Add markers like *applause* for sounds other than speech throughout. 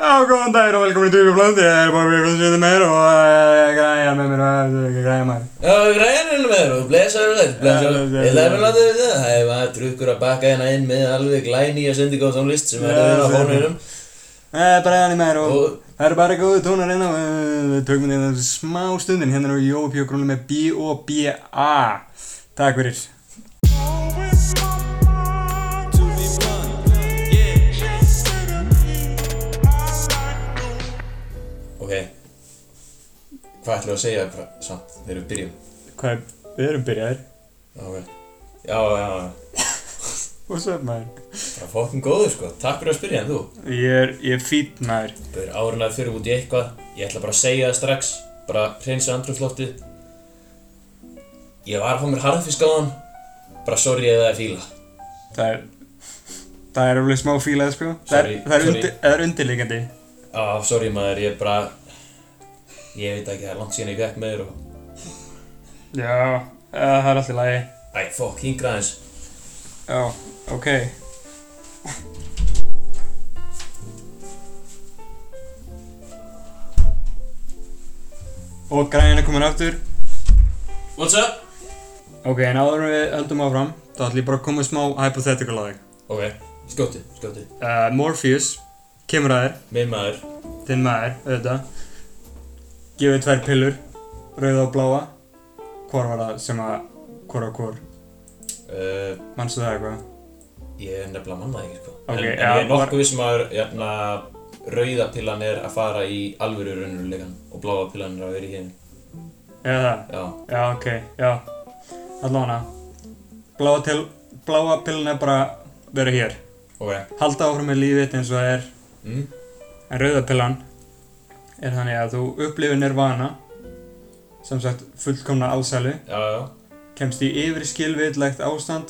Já, góðan daginn og velkomin í Dvífjöfland, ég er bara Björn Svíður meir og eh, græjar með mér og þetta er ekki græjar maður. Já, grænirinn með þér og blessaður og þér, blessaður. Já, já, já. Ég lefði látið við það, það var drukkur að bakka hérna inn með alveg glænýja syndigóð tónlist sem er Já, að vera á já. fónurum. Það er bara þannig Eh, maður og Og- það eru bara góðu tónar hérna og eh, við tökum þetta smá stundin, hérna eru Jói Pjókrúli með B.O.B.A. Takk fyrir. Ok, hvað ætlum við að segja bara samt þegar við byrjum? Hvað, er- við erum byrjaðir. Ok, já, já, já, What's up maður? bara fokkin góður sko, takk fyrir að spyrja en þú. Ég er, ég er fýt maður. Bör árin að fyrir út í eitthvað, ég ætla bara að segja það strax, bara hreinsa andrúflóttið. Ég var að fá mér harðfisk á bara sorry eða það er fíla. Það er, það er alveg smá fílað sko. Það er, Sorry, það er, sorry. undir, það er undirleikandi. Já, sorry maður, ég er bara Ég veit ekki, það er langt síðan ég fekk með þér og Já, eh, það er allt í lagi. Æ, fokk, hingra aðeins Já, ok. Og grænin er komin aftur. What's up? Ok, en áður en við höldum áfram, þá ætlum ég bara að koma með smá hypothetical á þig. Ok, skjótti, skjótti Uh, Morpheus kemur að þér, Minn maður þinn maður, auðvitað. Gefið tvær pillur, rauða og bláa. Hvor var það sem að, hvor á hvor? uh, Manstu það eitthvað? Ég er nefnilega manna það ekki, sko Ok, En, já, en ég er var- nokkuð vissum að jafna, Rauða pillan er að fara í alvöru raunurulegan Og bláa pillan er að vera í hinn Eða það? Já, Já, ok, já. Allána. Bláa, til, bláa pillin er bara vera hér. ok Halda áfram með lífið þitt eins og það er. mm? En rauða pillan er þannig að þú upplifir nirvana, sem sagt fullkomna allsælu, Já, já kemst í yfir skilvitlegt ástand,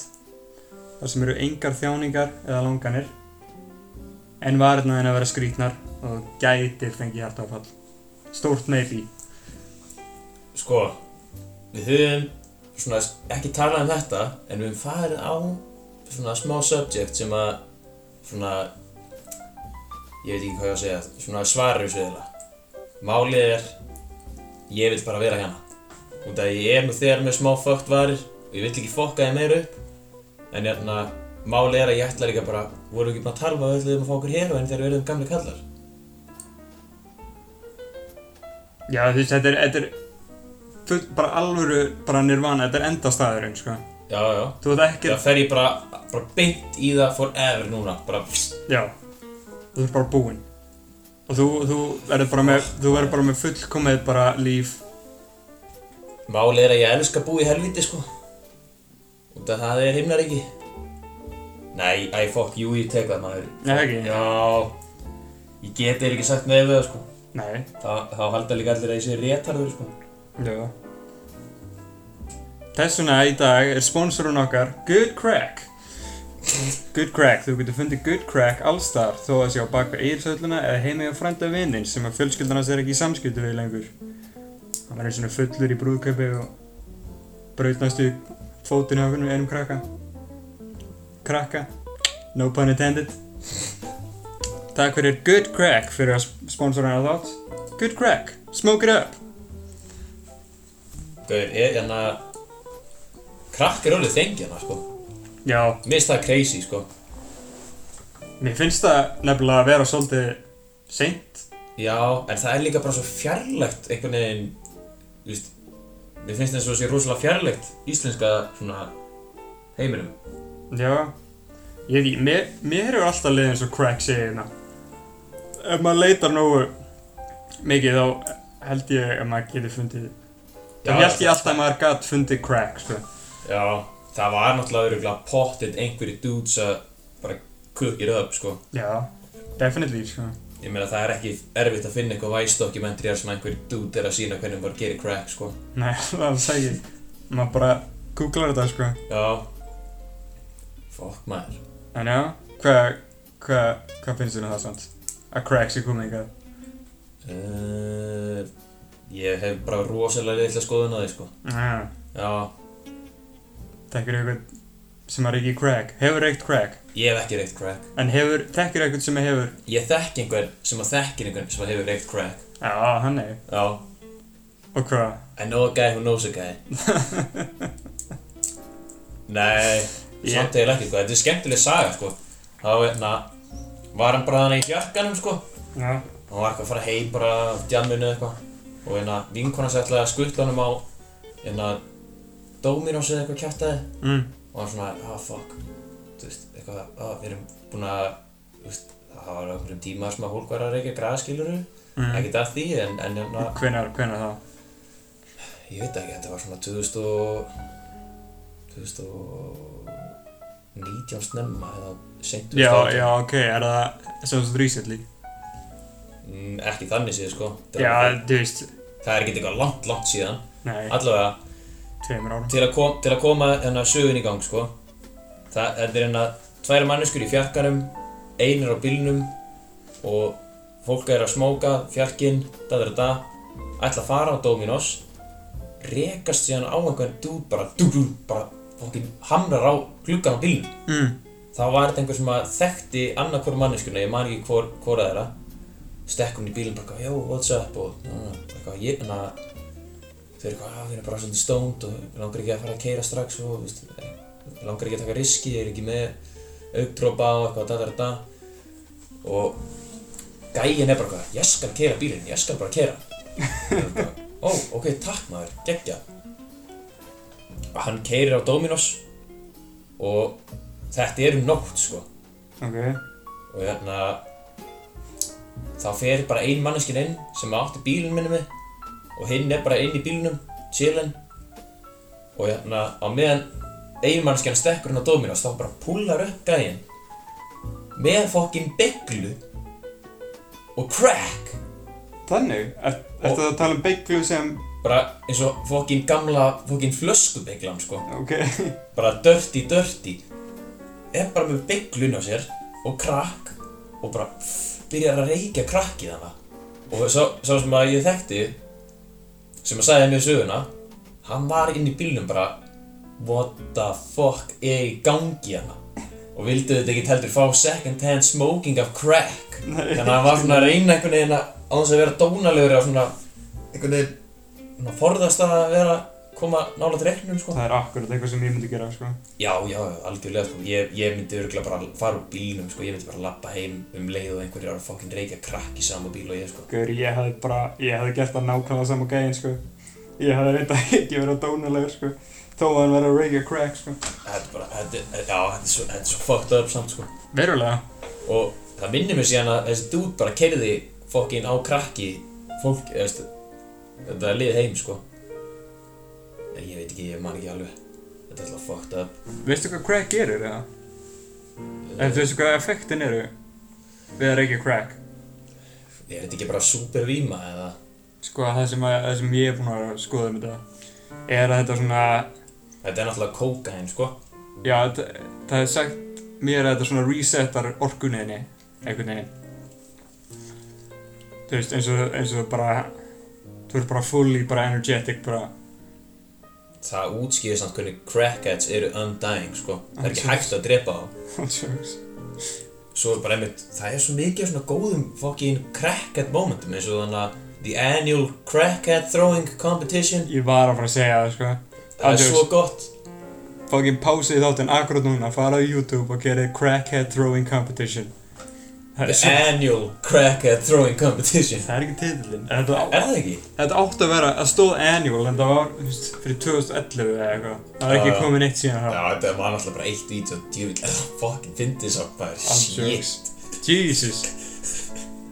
þar sem eru engar þjáningar eða langanir, en varirna þín að vera skrítnar og þú gætir fengið hjartáfall. Stórt maybe. Sko, við höfum svona ekki talað um þetta En við höfum farið á svona smá subject sem að Svona Ég veit ekki hvað ég á að segja Svona svarur þessu eða Málið er Ég vil bara vera hérna Út af ég er nú þegar með smá fucked varir Og ég vil ekki fokka þið meira upp En hérna Málið er að ég ætla líka bara Vorum við ekki bara að tala um að við ætlaðum að fá okkur hér þegar við erum gamli kallar Já, þú veist, þetta er, þetta er full, bara alvöru, bara nirvana, þetta er endastæðurinn, sko. Já, já Þú veit ekki, Það fer ég bara, bara beint í það forever núna Bara pst, já, þú ert bara búinn. Og þú, þú verður bara með, þú verður bara með fullkomið bara líf. Málið er að ég elska að búa í helviti sko Út af það er himnaríki Nei, æ, fokk, jú, ég tek það maður Nei, ekki? Já Ég get þér ekki sagt með við það sko Nei, Þá, þá halda líka allir að ég sé réttarður sko já. Þess vegna í dag er sponsorun okkar Good Crack. Good Crack, þú getur fundið Good Crack allstar þó að sé á baka eilsölluna eða heimi á frænda vinninn sem að fjölskyldan hans er ekki í samskiptu við lengur. Hann var eins og fullur í brúðkaupi og brautnastu fótinn á hvernig einum krakka. Krakka, no pun intended. Takk fyrir Good Crack fyrir að sponsora hana þátt. Good Crack, smoke it up. Gauður, ég, hérna Krakk er alveg þengi hana sko Já, Mér finnst það crazy sko mér finnst það nefnilega að vera svolítið seint. Já, en það er líka bara svo fjarlægt einhvern veginn Þú veist Mér finnst eins og það sé rosalega fjarlægt íslenska svona heiminum Já, ég veit, mér, mér hefur alltaf liðið eins og crack segið hérna. Ef maður leitar nógu mikið þá held ég að maður getur fundið Þá Já, held ég það- alltaf að maður gat fundið crack, sko. Já, það var náttúrulega öruglega pottitt einhverju dudes að bara cook it up, sko. Já, definitely, sko. Ég meina það er ekki erfitt að finna eitthvað vice documentary þar sem einhverju dude er að sína hvernig hann var að gera crack, sko. Nei, *laughs* það er sækir. Maður bara googlar þetta, sko. Já. Fuck maður. En já, hvað, hvað, hvað finnst þér um það samt? Að crack sé komið eitthvað? Uh, ég hef bara rosalega litla skoðun á því, sko. Já, Já, tekir eitthvað sem að reykja crack hefur reykt crack Ég hef ekki reykt crack. en hefur, þekkir eitthvað sem hefur Ég þekk einhvern sem að þekkir einhvern sem að hefur reykt crack. já, hann hefur Já. og hvað I know a guy who knows a *laughs* guy. Nei, Ég- samt eiginlega ekki, sko. Þetta er skemmtileg saga, sko. Þá, hérna, var hann bara þannig í fjarkanum, sko. já, Hann var eitthvað að fara heim bara á djamminu eða eitthvað. Og hérna, vinkona sér ætlaði að skutla honum á, hérna, Dominos eða eitthvað kjartaði. mm. Og hann svona, ah, fuck. Þú veist, eitthvað, ah, við erum búin að, þú veist, það var okkur um tíma sem að fólk var að reykja graðskiluru. Mm. Ekkert að því, en, en hérna, hvenar, hvenar þá Ég veit ekki, þetta var svona 2000 og... 2019 snemma eða seint já, já, ok, er það sem þú þrýsett lík Mm, ekki þannig síðan sko. Það já, var- þú veist, Það er ekki eitthvað langt, langt síðan. nei, Allavega, tveimur árum til að, kom, til að koma hérna sögun í gang sko. Það þetta er hérna tværi manneskur í fjarkanum, einir á bílnum og fólk er að smóka fjarkinn, da da da da, ætla að fara á Dominos, rekast síðan á einhvern dúd bara, dú dú, bara fokkin hamrar á gluggan á bílnum. mm. þá var þetta einhver sem að þekkti annað hvora manneskuna, ég man ekki hvor, hvora þeirra stekk hún í bílinn bara, eitthvað, yo, what's up og na, na, na, eitthvað, ég, na, þau eru eitthvað, "Ah, þau eru bara svolítið stónd og langar ekki að fara að keira strax og veist, langar ekki að taka riski, ég er ekki með augdropa og eitthvað, da, da, da, da og gæin er bara eitthvað, ég skal keira bílinn, ég skal bara keira ó, ok, takk maður, geggja hann keirir á Dominos og þetta er um nótt sko ok, og hérna þá fer bara ein manneskinn inn sem átti bílinn minni mig og hinn er bara inn í bílnum, chillin og hérna á meðan ein manneskinn stekkur hann á Dominos þá bara púlar upp gæinn með fokkin bygglu og crack þannig er, Og- ertu að tala um bygglu sem bara eins og fokkin gamla fokkin flöskubeglan sko ok, *laughs* bara dirty dirty er bara með bygglun á sér og krakk og bara pff, byrjar að reykja krakkið hana og sá, sá sem að ég þekkti sem að sagði mér söguna hann var inn í bílnum bara what the fuck er í gangi hana og vildi þetta ekki heldur fá second hand smoking of crack Nei. þannig að hann var svona að reyna einhvern veginn að á þess að vera dónalegur og svona einhvern veginn svona forðast að vera koma nála til reiknum sko það er akkurat eitthvað sem ég myndi gera sko. Já, já, já, algjörlega, sko, ég, ég myndi örgulega bara fara úr bílnum, sko, ég myndi bara lappa heim um leið og einhverjir eru að fokkin reykja krakk í sama bíl og ég, sko. Gaur, ég hafði bara, ég hafði gert það nákvæmlega sama gæðin, sko. Ég hafði reynda *laughs* ekki verið dónalegur, sko. Þó að hann verið að reykja crack, sko. Þetta er bara, þetta, er- já, þetta er svo, þetta er svo fucked up samt, sko. Verulega? Og það minnir mér síðan að þessi dúd bara kerði fokkin á krakki, fólk, eða, veist, þetta er lið heim, sko. En ég veit ekki, ég man ekki alveg, þetta er alltaf fucked up. Veistu hvað crack gerir, eða? En þú veistu hvað effektin eru við að reykja crack? Er þetta ekki bara super víma, eða? Sko, það sem, að, það sem ég er búinn að vera að skoða um þetta er að þetta svona, Þetta er náttúrulega kókain, sko. já, þetta- það er sagt mér að þetta svona resetar orkunniðinni, einhvern veginn. Þú veist, eins og, eins og bara, þú ert bara fully, bara energetic, bara, *laughs* Það útskýðir samt hvernig crackheads eru undying, sko. Það er ekki hægt að drepa þá. Jokes. svo er bara einmitt, það er svo mikið af svona góðum fokkin crackhead momentum eins og þannig að the annual crackhead throwing competition Ég var að fara að segja það sko það er Andrews. svo gott Fokkin pásið þáttinn akkurat núna Fara á YouTube og gerið Crackhead Throwing Competition Það the er, svo, annual crackhead throwing competition það er ekki titillinn þetta, á- er það ekki? þetta átti að vera að stóð annual En það var þú veist, fyrir 2011 eða eitthvað Það er Já, ekki já. komin eitt síðan Já, það þetta var náttúrulega bara eitt vídeo og djöfull er það fokkin fyndið svo bara shit Andrews. Jesus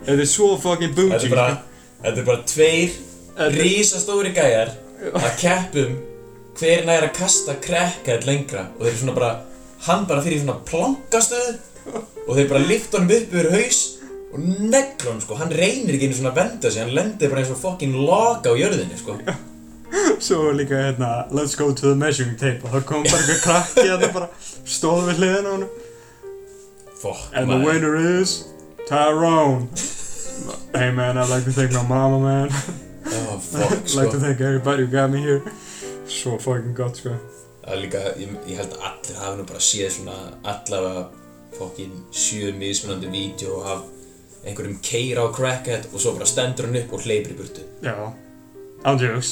Þetta er svo fokkin bougie þetta er bara, sko. þetta er bara tveir Þetta- rísastóri gæjar að keppum hver nær að kasta crackhead lengra og þeir eru svona bara hann bara fyrir í svona plankastöðu og þeir bara lift honum upp yfir haus og negla honum sko, hann reynir ekki einu svona að venda sig, hann lendir bara eins og fokkin loka á jörðinni sko *laughs* Svo var líka hérna Let's go to the measuring tape Og það kom bara eitthvað krakki að það bara Stóð við hliðin á hann Fokk And the winner is Tyrone. hey man, I'd like to thank my mama man. *laughs* oh, fokk I'd like sko to thank everybody who got me here. Svo fucking gott sko. Það er líka, ég, ég held að allir hafi nú bara séð svona allavega fokkin sjö mismunandi vídeo af einhverjum keira á crackhead og svo bara stendur hann upp og hleypir í burtu. Já, ándjöfus.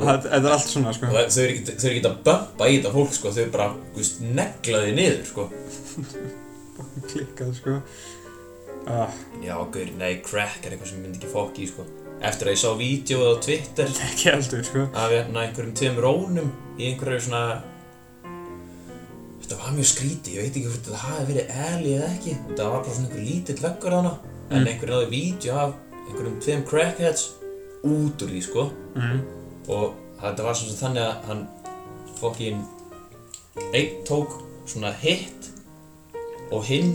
Þetta er allt svona, sko. Og það- þau eru ekki, þau eru ekki að bömpa í þetta fólk sko, þau bara, gust, neglaði niður sko. Klikkað, sko. Ah, En já, gaur, nei, crack er eitthvað sem ég myndi ekki fokk í sko. Eftir að ég sá vídeoið á Twitter ekki heldur, sko. af hérna einhverjum tveimur ónum í einhverju svona Þetta var mjög skrítið, ég veit ekki hvort þetta hafi verið ærli eða ekki Þetta var bara svona einhver lítill veggur þarna En Mm. einhver náði vídeo af einhverjum tveim crackheads út úr því sko Mm. Og þetta var svona þannig að hann fokkin einn tók svona hitt Og hinn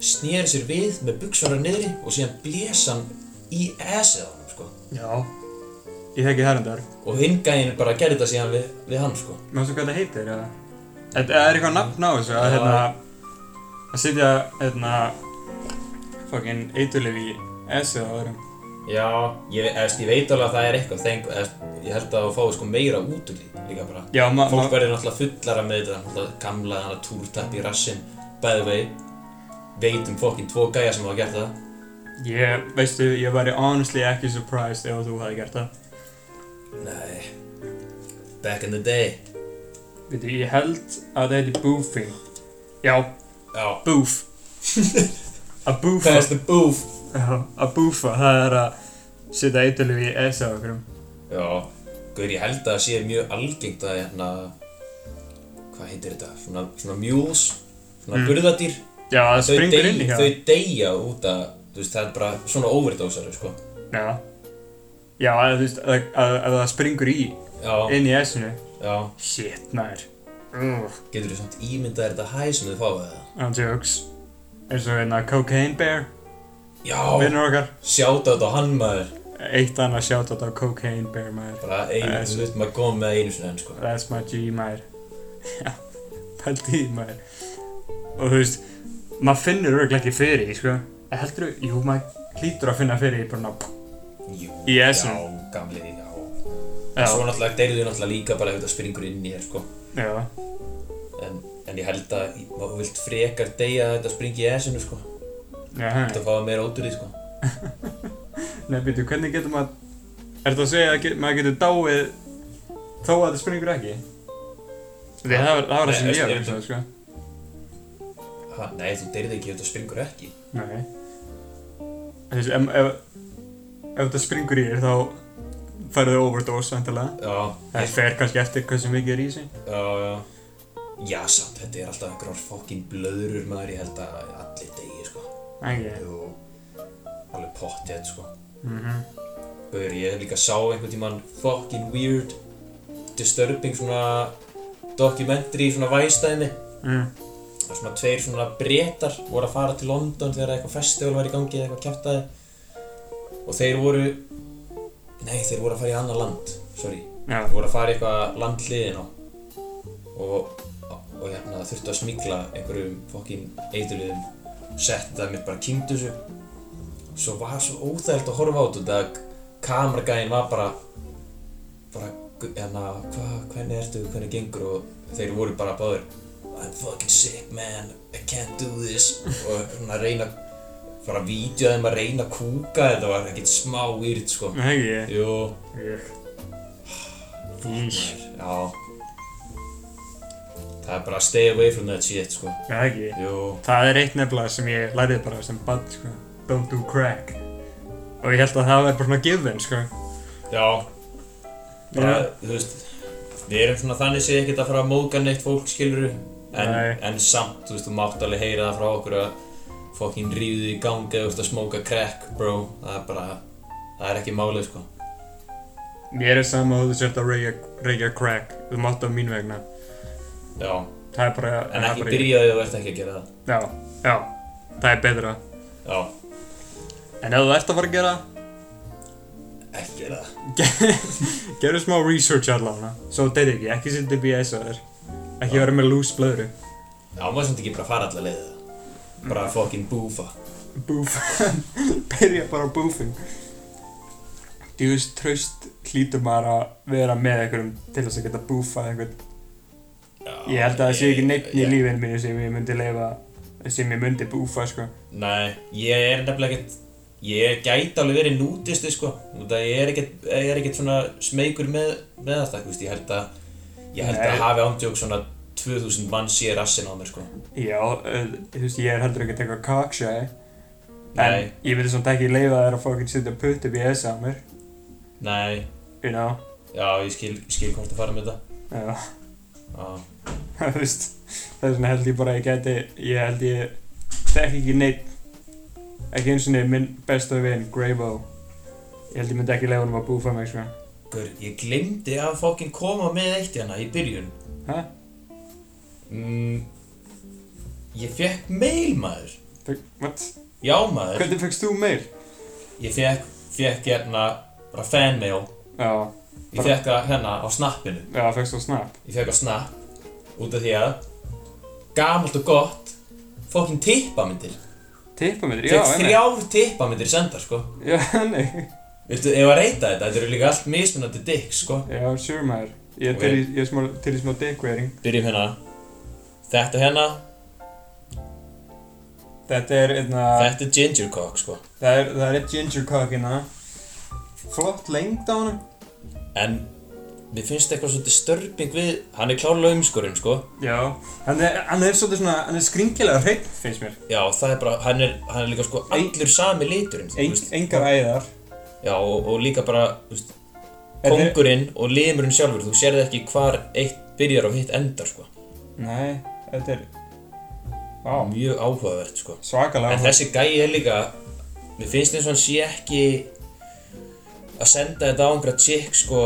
snýri sér við með buksvara niðri og síðan blés hann í assið á hann sko Já. Ég þekki það reyndar. Og hinn gæðin bara gerði þetta síðan við, við hann sko Mástu hvað þetta heitir, eða? Þetta er eitthvað nafn á þessu, að Já. hérna að sitja, hérna fokkin eiturlif í essið á öðrum. Já, ég, eðst, ég veit alveg að það er eitthvað þeng, eðst, ég held að það fái sko meira út úr því líka bara. Já, ma ma Fólk verður náttúrulega fullara með þetta, náttúrulega gamla þannig að túrtapp í rassinn, bæði vei, veit um fokkin tvo gæja sem hafa gert það. ég, veistu, ég væri honestly ekki surprised ef þú hefði gert það. Nei, back in the day. Veitu, ég held að það heiti boofing. Já, Já, boof. *laughs* að boofa, hvað er þetta búf? já, að boofa, það er að sitja eiturlif í essið á öðrum. Já, guður, ég held að það sé mjög algengt að hérna, hvað heitir þetta, svona, svona mules, svona Mm. burðadýr. Já, það Þau springur inn í dey- hjá. Þau deyja út að, þú veist, það er bara svona overdósari, sko. Já, já, að þú veist, að, að, að það springur í, Já, inn í essinu. Já, Shit, nær. Ugh, getur þú samt ímyndað þér þetta hæ sem þið fáið það? I'm jokes. Eins og hérna Cocaine Bear, Já, vinnur okkar. sjáta þetta á hann maður Eitt annað shoutout á Cocaine Bear, maður. Bara einu, Æ, þú veit maður komið með það einu sinni enn sko That's my G, maður. Já, pældi í, því, maður. Og þú veist, maður finnur örgulega ekki fyrir því, sko. En heldur þú, jú, maður hlýtur að finna fyrir því, bara ná, Jú, Í já, essunum. gamli, já já, Svo náttúrulega deyrið þau náttúrulega líka bara ef þetta springur inn í þér sko já, En, en ég held að, í- maður vilt frekar deyja að þetta springi í essinu sko já, Þetta hæ. fáið meira út úr því sko Nei, býtu, hvernig getur maður, er það að segja að get, maður getur dáið þó að það springur ekki? Því það var það var það Nei, sem ég veist, var ég- að segja, sko. ha, Nei, þú deyrið ekki ef þetta springur ekki Nei Þessi, ef, ef, ef þetta springur í þér þá færðu overdose vantilega Já, Það ég- fer kannski eftir hversu mikið er í sig já, já Já, samt, þetta er alltaf einhverjar fokkin blöðurur maður, ég held að allir degi sko Ekki Jú, alveg pottið sko Mhm. Gauður, ég hef líka sá einhvern tímann fucking weird disturbing svona dokumentari í svona væstæðinni mm. og svona tveir svona breytar voru að fara til London þegar eitthvað festival var í gangi eða eitthvað kjæftæði og þeir voru nei, þeir voru að fara í annað land sorry, Já, þeir voru að fara í eitthvað land hliðin á og, og hérna þurftu að smíkla einhverjum fucking eiturliðum setta mér bara kýndu þessu svo var svo óþægt að horfa á þetta að kameragæin var bara bara, hérna, hva, hvernig ertu, hvernig gengur og þeir voru bara báður I'm fucking sick man, I can't do this og svona að reyna bara að vídeo þeim að reyna að kúka þetta var ekkert smá weird sko ekki Jú, Ís já Það er bara stay away from that shit sko Ekki Jú, Það er eitt nefnilega sem ég lærið bara sem bann sko. Don't do crack Og ég held að það væri bara svona given sko. já bara, þú veist, við erum svona þannig séð ekkert að fara að móka neitt fólk, skiluru en, Nei. en samt, þú veist, þú mátt alveg heyra það frá okkur að fokkin ríðu í gangi eða þú veist að smóka crack, bro það er bara, það er ekki málið, sko Mér er sama að þú sért að reykja- reykja crack Þú mátt á mín vegna já, Það er bara það en er ekki bara- byrjaði þú ert ekki að gera það Já, já Það er betra já, En ef þú ert að fara að gera það ekki gera það *laughs* Gerðu smá research allavega Svo deyri ekki, ekki sýndi BS að þér Ekki vera með loose blöðru já, maður samt ekki bara fara allar leiðið það bara fokkin búfa *laughs* Boof Byrja bara á boofing Þú veist, traust hlýtur maður að vera með einhverjum til þess að geta boofað einhvern Ég held að það sé ekki neitt í lífinu mínu sem ég myndi leifa, sem ég myndi búfa, sko. Nei, ég er nefnilega ekkert Ég gæti alveg verið nútisti sko Út að ég er ekkert, ég er ekkert svona smeykur með, með þetta þú veist, Ég held að Ég held Nei. að hafi ándjók svona 2000 mann sé rassin á mér sko Já, eh, þú veist, ég er heldur ekkert eitthvað kaksjæði. En Nei. ég myndi samt ekki leifa þær að fokkin setja putt upp í þessa á mér, Nei, you know? já ég skil, skil hvort að fara með þetta Já, *laughs* Já, þú veist, þess vegna held ég bara að ég geti, ég held ég, þekk ekki neitt, ekki eins og neitt minn besta vin, Greybo. Ég held ég myndi ekki leifa honum að búfa mig, sko. Gaur, ég glemdi að fokkin koma með eitt hérna í byrjun Hæ? mm, Ég fekk mail maður Fek- What? Já maður Hvernig fegst þú meil? Ég fekk, fekk hérna bara fanmail Já, Ég fekk það hérna á snappinu já, fegst þú snap. Ég fekk á snapp út af því að gamalt og gott fokkin tippamyndir Tippamitri, já, Fekk þrjár tippamyndir sendar sko *laughs* Já, nei, Viltu, ef að reyta þetta, þetta eru líka allt mismunandi dykk sko já, sure maður Ég er til í, ég er smá, til í smá dickwearing Byrjum hérna Þetta hérna, Þetta er hérna, einna, þetta er gingercock sko það er, það er eitt ginger cock inna Flott lengd á honum En mér finnst eitthvað svolítið störping við Hann er klárlega umskorinn sko Já Hann er, hann er svolítið svona, hann er skringilega hreitt, finnst mér Já, það er bara, hann er, hann er líka sko allur sami liturinn þú Eng, veist. Engar æðar Já, og, og líka bara, þú veist Þetta er- Kongurinn og limurinn sjálfur, þú sérði ekki hvar eitt byrjar og hitt endar sko Nei, þetta er Vá, Mjög áhugavert sko svakalega En þessi gæi er líka Mér finnst eins og hann sé ekki Að senda þetta á einhverja chick sko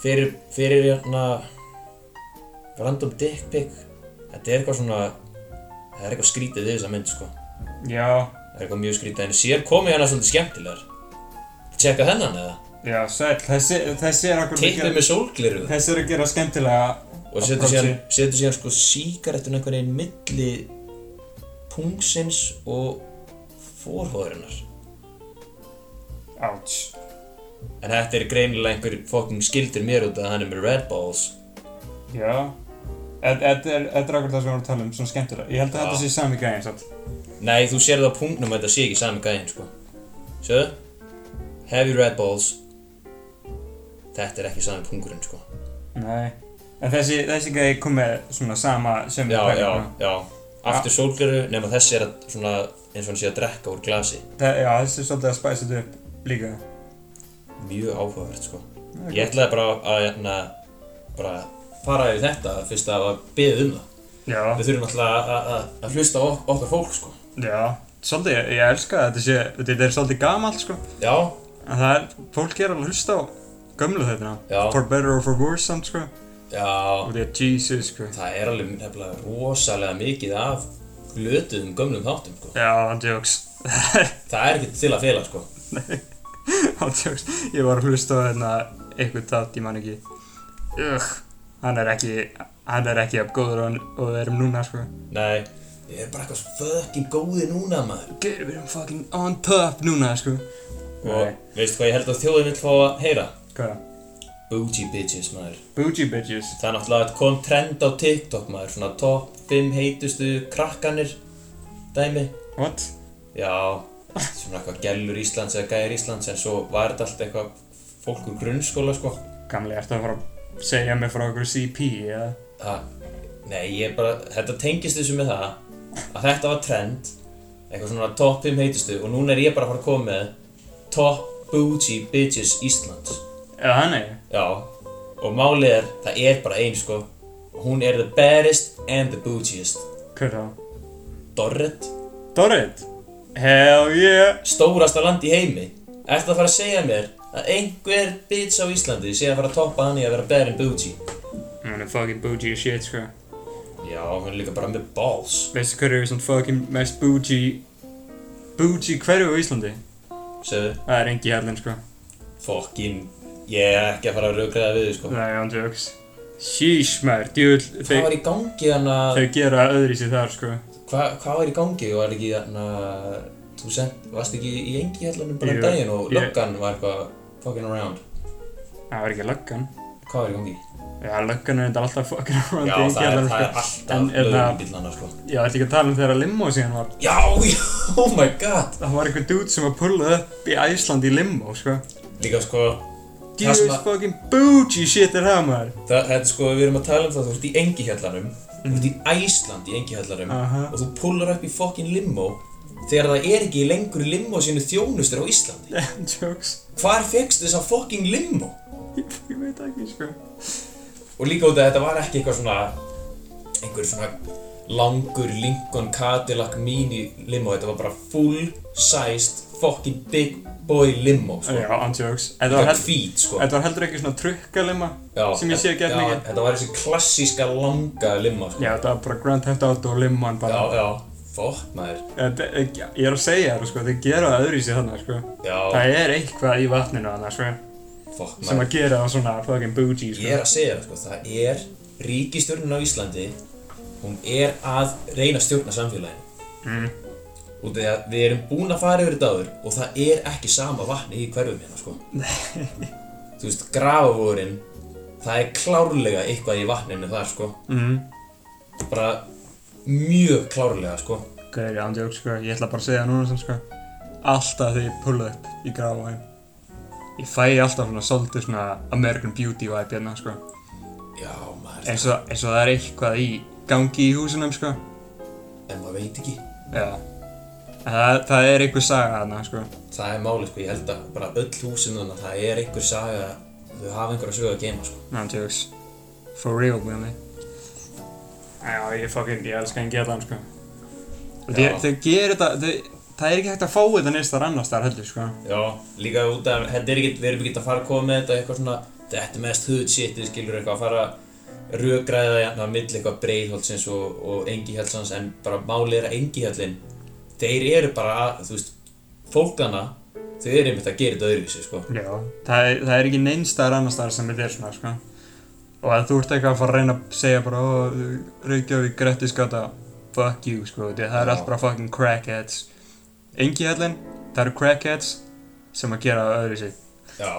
Fyrir, fyrir hérna Random dick pic Þetta er eitthvað svona Það er eitthvað skrítið við þessa mynd sko Já, Það er eitthvað mjög skrítið En sér komið hérna svolítið skemmtilegar Tjekka þennan eða já, sæll Þessi, þessi er akkur Tippið með sólgliru Þessi er að gera skemmtilega Og setur approachi. síðan, setur síðan sko síkarettun einhvern veginn milli pungsins og fórhóðurinnar. Ouch En þetta er greinilega einhver fokking skildur mér út að hann er með Red Balls. Já Þetta þetta er, þetta er akkur það sem við vorum að tala um, svona skemmtilega Ég held að Já. þetta sé sami gæðin, satt Nei, þú sér það á punktnum að þetta sé ekki sami gæðin, sko. Sjöðu? Heavy Red Balls. Þetta er ekki sami punkturinn, sko. Nei, en þessi, þessi gæði kom með svona sama sem Já, já, já. Aftur sólgleru, nema þessi er að svona eins og hann sé að drekka úr glasi. Þa, Eh, já, þessi er svolítið að spæsa þetta upp líka. Mjög áhugavert, sko. Ég ætlaði bara að, hérna, bara fara yfir þetta fyrst að hafa beðið um það. Já, Við þurfum alltaf að, að, að hlusta á ok- okkar fólk, sko. já, svolítið, ég, ég elska að þetta sé, þetta er svolítið gamalt sko. Já, En það er, fólk er alveg að hlusta á gömlu þetta Já. For better or for worse samt sko. já. Og þetta er Jesus sko. Það er alveg nefnilega rosalega mikið af glötuðum gömlum þáttum sko. Já, hann *laughs* djóks. Það er ekki til að fela sko. hann djóks. Ég var að hlusta á þetta eitthvað tát, ég man ekki. Ugh, hann er ekki, hann er ekki af góður og hann- og við erum núna sko. Nei, ég er bara eitthvað svo fucking góði núna maður. Gauður, við erum fucking on top núna, sko. Nei. Og veistu hvað ég held að þjóðin vil fá að heyra? Hvað? Booty bitches maður. Bougie bitches. Það er náttúrulega kom trend á TikTok maður, svona top 5 heitustu krakkanir dæmi. What? Já, svona eitthvað gellur Íslands eða gæðir Íslands en svo var þetta allt eitthvað fólk úr grunnskóla sko. Gamli, ertu að fara að segja mig frá okkur CP, eða? Það, nei, ég bara, þetta tengist þessu með það að þetta var trend eitthvað svona top 5 heitustu og núna er ég bara að fara að koma með top bougie bitches Íslands Eða hann er? já, og málið er, það er bara ein sko og hún er the baddest and the bougiest Hver þá? Dorrit, Dorrit? Hell yeah! stórasta land í heimi ertu að fara að segja mér að einhver bitch á Íslandi sé að fara að toppa hann í að vera better and bougie Hún er fucking bougie as shit, sko. já, hún er líka bara með balls Veistu hverju er svona fucking mest bougie... Bougie hverju á Íslandi? segðu, Það er engi herlinn, sko. fokkin ég er ekki að fara að raugræða við þig sko Nei, hann jokes. Sheesh, maður, djúvill, Hvað þeir, var í gangi hann að... þeir gera öðri sér þar, sko. Hva, hvað var í gangi? Var ekki hann að... Þú sent, varst ekki í engi hellanum bara um Jú, daginn og ég- löggan var eitthvað fucking around. Það var ekki löggan. Hvað var í gangi? Já, löggan er þetta alltaf fucking *laughs* around Já, í það er, kjallaranum, það er sko. alltaf En, hérna- lögum bílana, sko. Já, þetta ekki að tala um þegar limó síðan var Já, já, *laughs* oh my god. Það var einhver dude sem var pullað upp í Æsland í limó, sko Líka, sko, Það Jesus sem að- fucking bougie shit er það, maður *laughs* það, þetta, er sko, við erum að tala um það, þú ert í engihjallanum, þú ert í Æsland í engihjallanum Mhm. Aha. og þú pullar upp í fokkin limó þegar það er ekki lengur limó sínu þjónustur á Íslandi. Jokes Hvar fegstu þessa fokkin limó? Ég ég veit ekki, sko Og líka út af þetta var ekki eitthvað svona, einhver svona langur Lincoln Cadillac Mini limó, þetta var bara full-sized fokkin big boy limó, sko. Já, andjóks Þetta Það var var held- hvít, sko. þetta var heldur ekki svona trukkalima Já, sem ég sé ekki já, eftir ekki Þetta var þessi klassíska langa limma, sko. Já, þetta var bara Grand Theft Auto og limón Já, bara já, fokk maður. Þetta, Ég er að segja þér, sko, þið gera það öðru í sig þarna, sko Já, Það er eitthvað í vatninu þarna, sko fokk sem maður. að gera það svona fucking bougie, sko Ég er að segja það, sko, það er ríkistjórnin á Íslandi, hún er að reyna að stjórna samfélaginu. Mm. Út af því að við erum búin að fara yfir þetta áður og það er ekki sama vatni í hverfum hérna, *laughs* sko. Þú veist, grafavóðurinn, það er klárlega eitthvað í vatninu þar, sko. mm. Bara mjög klárlega, sko. Gauðir, ég ándjók, sko, ég ætla bara að segja það núna sem, sko, alltaf þegar ég pulla upp í gráðvæðin, ég fæ alltaf svona svolítið svona American Beauty vibe hérna, sko, Já, maður, eins og, eins og það er eitthvað í gangi í húsunum, sko, en maður veit ekki. já, En það, það er einhver saga þarna, sko, Það er málið sko, ég held að bara öll húsin þannig að það er einhver saga þau hafa einhverja sögu að geima sko. ándjóks, for real, með mig. Já, ég fucking, ég elska hann geta hann, sko, og Já. þau þau gerir þetta, þau, það er ekki hægt að fá þetta neist þar annars þar heldur, sko, Já, líka út af, þetta er ekkert, við erum ekkert að fara að koma með þetta eitthvað svona, þetta er mest hudshitið skilur eitthvað að fara að rökgræða hérna á milli eitthvað breiðholtsins og, og engihjálsans en bara málið er að engihjálsin, þeir eru bara, að, þú veist, fólkana, þau eru einmitt að gera þetta öðruvísi sko. Já, það er, það er ekki neinstæðar annar staðar sem þetta er svona, sko. Og að þú ert eitthvað að fara að reyna að segja bara, ó, Reykjavík, Grettisgata, fuck you, sko, því að það er Já. allt bara fucking crackheads. Engi hellin, það eru crackheads sem að gera það öðru sig. Já,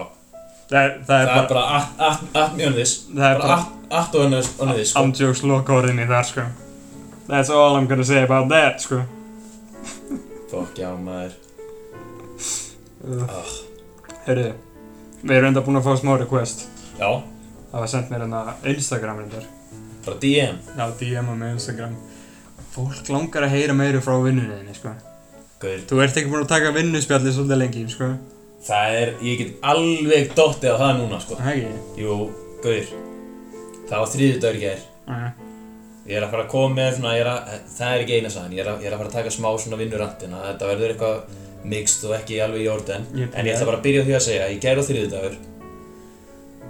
Það er, það er það er bara, bara allt- allt allt mjög annars, það er bara bara allt- allt og annars, annars sko. andjóks lokaorðin í þar, sko. That's all I'm gonna say about that, sko. Fokk, já maður, Ah. Herriði, við erum enda búin að fá smá request. já, Það var sendt mér hérna Instagram reyndar. bara DM. Já, DM-a með Instagram Fólk langar að heyra meira frá vinnuninni, sko Gaur, Þú ert ekki búin að taka vinnuspjallið svolítið lengi, sko það er, ég get alveg dottið á það núna, sko. Það ekki? Jú, gaur, það var þriðjudagur í gær. Jæja. Ég er að fara að koma með svona, ég er að, það er ekki eina sagan, ég er að, ég er að fara að taka smá svona vinnurantina. Þetta verður eitthvað mixt og ekki alveg í orden. Ég til En ég í ætla það. bara að byrja á því að segja, ég gær á þriðjudagur.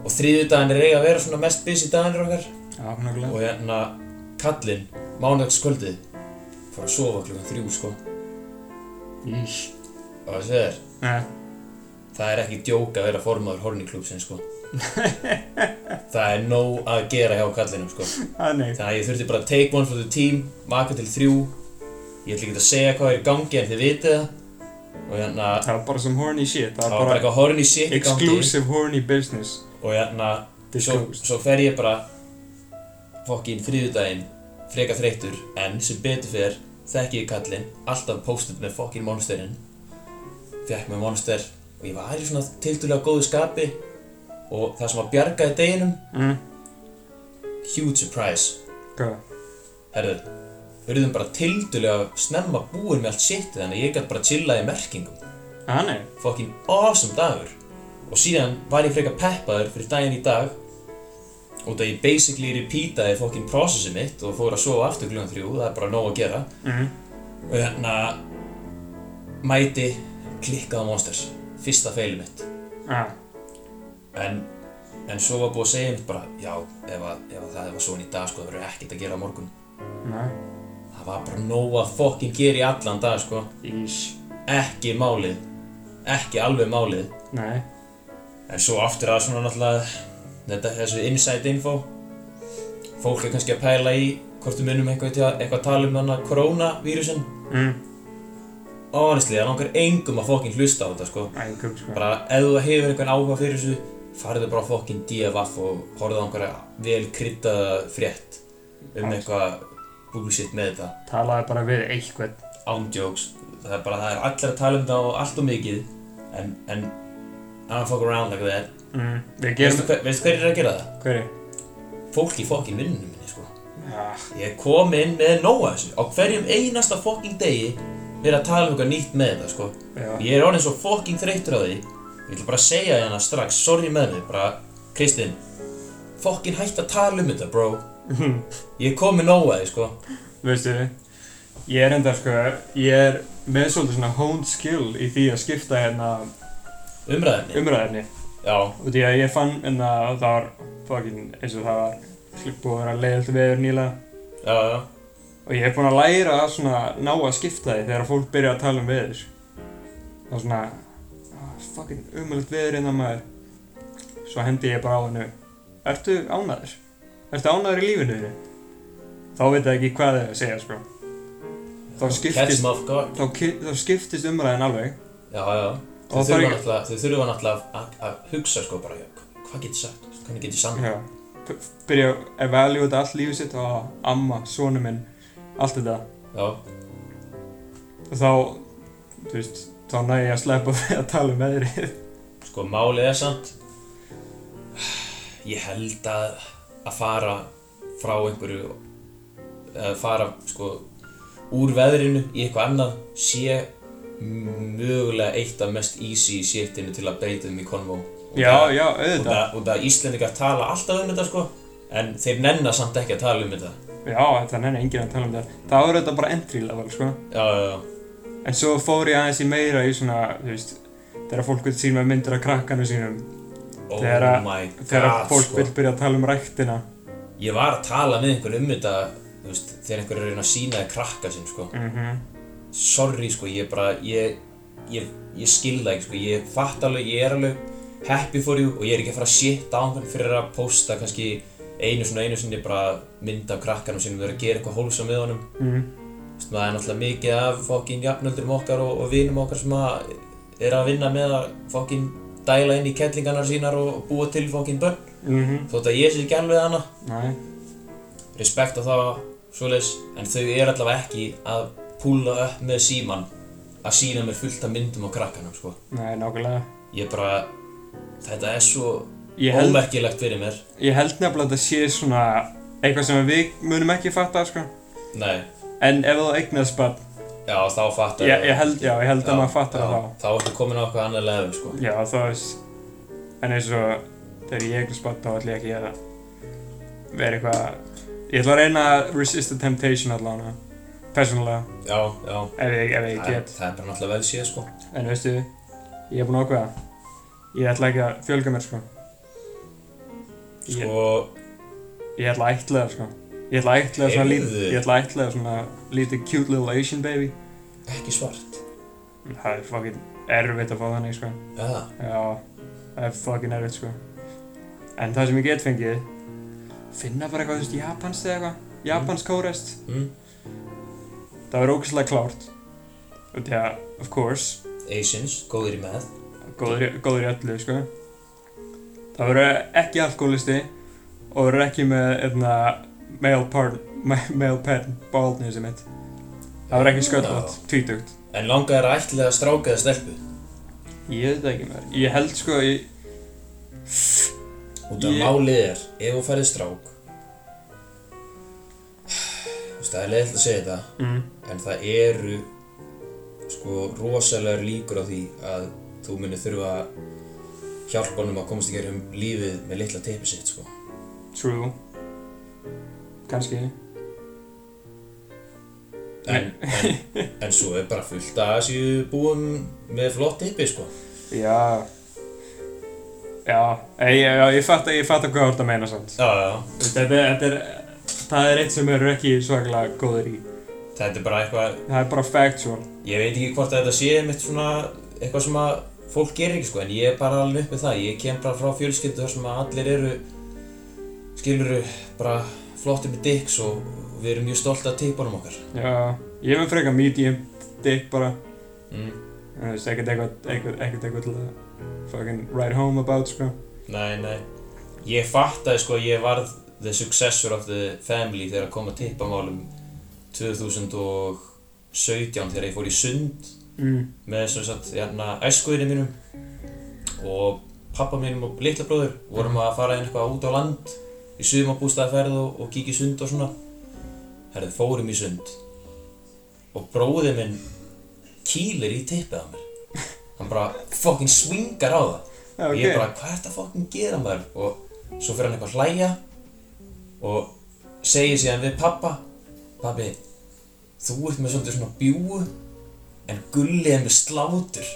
Og þriðjudaginn er eiga að vera svona mest busy dagarnir okkar. Já, nokkulega Og hérna, kallinn, mánudagskvöldið, fór að sofa klukkan þrjú, sko. Ís Og það segir, Nei, Það er ekki djók að vera formaður horniklúpsin sko *laughs* Það er nóg að gera hjá kallinum sko það er neitt Þannig að ég þurfti bara að take one for the team Maka til þrjú Ég ætla ekki að segja hvað er í gangi en þið vitið það Og hérna Það var bara sem horny shit Það Það var bara var bara eitthvað horny shit í gangi exclusive horny business Og hérna Svo, Disclosed svo fer ég bara Fokkin þriðudaginn Freka þreyttur En sem betur fer Þekki ég kallinn Alltaf postið með fokkin monsterinn Fekk með monster Og ég var í svona tildulega góðu skapi Og það sem að bjargaði deginum Mm, Huge surprise Hvað? Herðu Við erum bara tildulega snemma búin með allt sitt Þannig að ég gæti bara chillað í merkingum Það nei Fokkin awesome dagur Og síðan var ég frekar peppaður fyrir daginn í dag Út að ég basically repeataði fokkin processi mitt Og fór að sofa aftur klukkan þrjú Það er bara nóg að gera Mm, Og hérna Mæti klikkaða monsters Fyrsta feilið mitt Já, En En svo var búið að segja mér bara Já, ef, að, ef að það var svona í dag sko Það verður ekkert að gera á morgun nei Það var bara nóg að fokkin gera í allan dag sko Ís Ekki málið Ekki alveg málið Nei En svo aftur að svona náttúrulega þetta, þessu inside info Fólk er kannski að pæla í hvort við munum eitthvað, til að- eitthvað að tala um hana koronavírusin Mm, Honestly, það langar engum að fokkin hlusta á þetta sko Æ, kúk, sko Bara ef þú hefur einhvern áhuga fyrir þessu farðu bara á fokkin DFF og horfðu á einhverja vel kryddaða frétt um eitthvað bullshit með þetta Talaði bara við eitthvað ándjóks það er bara, það er allir að tala um það og allt og mikið en, en I don't fuck around like that mm. Við veistu, gerum hver, veistu hverju er að gera það? Hverju? fólk í fokkin vinnunum minni sko Ja, ég kom inn með nóa þessu á hverjum einasta fokkin degi verið að tala um eitthvað nýtt með þetta sko já, ég er orðin svo fokkin þreyttur á því ég ætla bara að segja hérna strax, sorry með mig bara, Kristinn fokkin hætt að tala um þetta bro Hmm. ég kom með nóa því sko veistu Ég er enda sko, ég er með svolítið svona honed skill í því að skipta hérna umræðinni umræðinni já, og því að ég fann hérna að það var fucking eins og það var búið að vera leiðilt veður nýlega já, já Og ég hef búin að læra að svona ná að skipta því þegar fólk byrja að tala um veður. Það er svona, ah, fucking umöðlegt veður innan maður. Svo hendi ég bara á hennu, ertu ánæður? Ertu ánæður í lífinu þínu? Þá veit það ekki hvað þau að segja, sko. Þá catch skiptist, them off guard þá, ki- þá skiptist umræðin alveg. já, já Og þau það er þurfa ekki- náttúrulega, þau þurfa náttúrulega að, að hugsa sko bara, já, hvað getur sagt hvernig getur sagt Já. B- Byrja að evaluate allt lífið sitt og amma, sonu minn, allt þetta. já, Og þá, þú veist, þá næ ég að sleppa því að tala um veðrið. sko málið er samt ég held að að fara frá einhverju að fara sko úr veðrinu í eitthvað annað sé mögulega eitt af mest easy shitinu til að beita um í konvó og Já, það- já, og auðvitað. það- og það Íslendingar tala alltaf um þetta sko en þeir nenna samt ekki að tala um þetta Já, þetta nenni enginn að tala um þetta. Það var þetta bara entry level, sko. já, já, já, En svo fór ég aðeins í meira í svona, þú veist, þegar fólk vil sína myndir af krakkanu sínum, oh Þegar að- my god þegar fólk sko. vil byrja að tala um ræktina. ég var að tala með einhvern um þetta þú veist, þegar einhver er að reyna að sína þið krakka sinn sko Mhm. sorry sko, ég bara, ég, ég, ég skil það ekki sko, ég fatt alveg, ég er alveg happy for you og ég er ekki að fara að shit á hann fyrir að posta kannski einu svona einu sinni bara mynd af krakkanum sínum verið að gera eitthvað hólsa með honum Mm. Þú veist, maður er náttúrulega mikið af fokkin jafnöldurum okkar og, og vinum okkar sem að er að vinna með að fokkin dæla inn í kettlingarnar sínar og búa til fokkin börn Mhm. þótt að ég sé ekki alveg hana Næ. respekt á það svoleiðis, en þau eru allavega ekki að púla upp með síman að sína mér fullt af myndum á krakkanum sko. Næ, nákvæmlega. ég bara þetta er svo Ég held, ómerkilegt fyrir mér ég held nefnilega að þetta sé svona eitthvað sem við munum ekki fatta, sko. nei, En ef þú eignast bara, já þá fattar ég, ég held, já, ég held að maður fattar það já, þá. þá ertu komin á eitthvað annað leðum sko. Já, þá veist, en eins og þegar ég eitthvað spott þá ætlum ég ekki að vera eitthvað, ég ætla að reyna að resist the temptation allavega, persónulega, já, já ef ég, ef ég það, er- get, það er bara náttúrulega vel síða sko. en veistu, ég er búinn að ákveða, ég ætla ekki að fjölga mér sko, ég, sko, ég ætla að ætla það sko, ég ætla að ætla það svona lítið, Heyrðu. ég ætla að ætla það svona lítið cute little Asian baby, ekki svart það er fucking erfitt að fá þannig sko. já, Já, það er fucking erfitt sko En það sem ég get fengið Finna bara eitthvað, þú veist, japansk eða eitthvað Japansk kórest mm. Það verður ógeðslega klárt Og því að, of course Asians, góðir í með Góður, í- góður í öllu, sko Það verður ekki alkoholisti Og verður ekki með, einna Male part, *laughs* ma- male pet Baldness í mitt Það verður ekki sköldlótt, tvítugt en langaðir að ætla að stráka eða stelpu Ég veit það ekki mér Ég held sko, ég, Út af Ég- málið er, ef þú færið strák Þú veist, það er leiðilegt að segja þetta mm, En það eru sko rosalega líkur á því að þú munir þurfa að hjálpa honum að komast í gerum lífið með litla teipi sitt sko. true Kanski En, en, en svo er bara fullt að séu búum með flott teipi sko. Já Já, ég, já, ég fatt að ég fatt að hvað þú ert að meina samt Já, já. Þetta er, þetta er, það er eitt sem eru ekki svaklega góður í Þetta er bara eitthvað, Það er bara sko. factual ég veit ekki hvort að þetta sé mitt svona eitthvað sem að fólk gerir ekki sko en ég er bara alveg upp með það ég kem bara frá fjölskyldu þar sem að allir eru skiluru bara flottir með dicks og og við erum mjög stolt að tippunum okkar Já, ég er með frekar medium dick bara mm. En Þú veist, ekkert eitthvað, ekkert, ekkert eitthvað til að fucking write home about, sko Nei, nei. Ég fattaði sko að ég varð the successor of the family þegar að koma að tippamálum 2017 þegar ég fór í sund mm. með sem sagt hérna æskuðinni mínum og pappa mínum og litla bróður vorum að fara inn eitthvað út á land í sumabústaðaferð og, og kíkja í sund og svona herði fórum í sund og bróðið minn kýlir í tippið á mér hann bara fucking swingar á það Já, og ok. ég er bara hvað er þetta fucking gera maður og svo fyrir hann eitthvað að hlæja og segir síðan við pappa pappi þú ert með svolítið svona bjúu en gullið er með slátur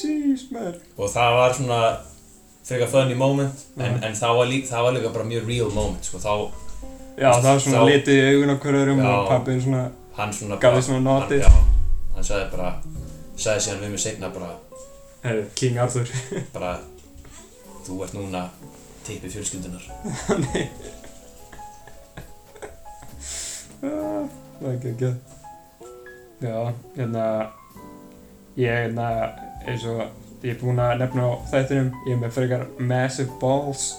Jeez, maður. og það var svona frekar funny moment en, Mhm. en það, var líka, það var líka bara mjög real moment sko þá Já, það var svona Þá- litið í augun á hverjum Já. og pappin svona hann svona Gaf þér svona hann- notið. já, hann sagði bara sagði síðan við mig seinna bara, Herru, King Arthur bara þú ert núna tippið fjölskyldunar Nei *laughs* Ah, Það er ekki ekki Já, hérna Ég, hérna, eins og Ég er búinn að nefna á þættinum Ég er með frekar massive balls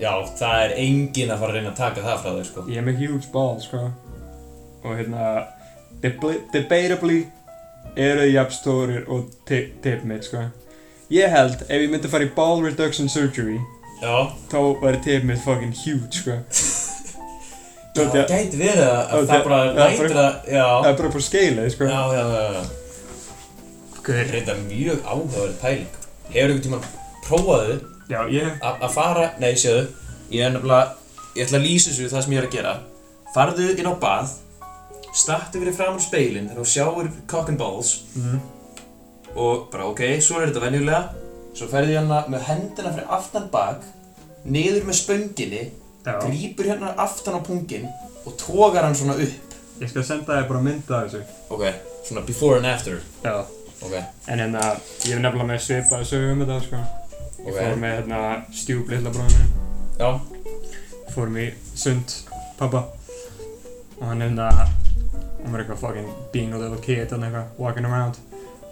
já það er enginn að fara að reyna að taka það frá þér sko Ég er með huge balls, sko Og hérna debli- Debatably Eru þið jafnstórir og ti- tip mitt, sko Ég held, ef ég myndi fara í ball reduction surgery já Þá væri tip mitt fucking huge, sko Já, það gæti verið að Ó, að það það- bara það er lætur að, já, Það er bara bara skeilið, sko já, já, já, já. Það er reynda mjög áhugaverð pæling. Hefur einhvern tímann prófaðu Já, ég að að fara, nei, séðu, ég er nefnilega, ég ætla að lýsa þessu það sem ég er að gera. Farðu inn á bað, stattu fyrir fram úr speilin þegar þú sjáur cock and balls mm. og bara, ok, svo er þetta venjulega, svo ferðu hérna með hendina fyrir aftan bak, niður með spönginni, Já, grípur hérna aftan á pungin og tógar hann svona upp. ég skal senda þér bara mynda af þessu Ok, svona before and after Já Ok, En hérna, ég hef nefnilega með svipað sögu um þetta, sko Ég Ok. fór með, hérna, stjúb litla bróðinu já Fórum í sund, pappa Og hann hérna Hann var eitthvað fucking being a little kid Hann eitthvað, walking around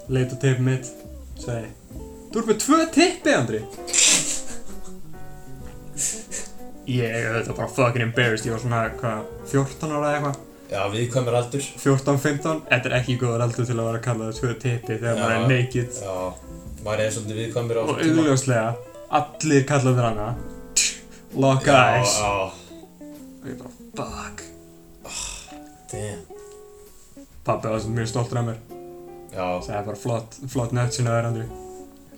Leit á tippið mitt Segi Þú ert með tvö tippi, Andri Ég, þetta bara fucking embarrassed Ég var svona, hvað, 14 ára eða eitthvað Já, viðkvæmur aldur 14-15, þetta er ekki góður aldur til að vera að kalla það tvö tippi þegar maður Já. er naked Já, maður er svolítið viðkvæmur á og þessum tíma. augljóslega allir kalla það hana lock eyes Já, og ég bara fuck já, damn pappi var sem mjög stoltur af mér Já, sagði bara flott, flott nötsinu að þér andri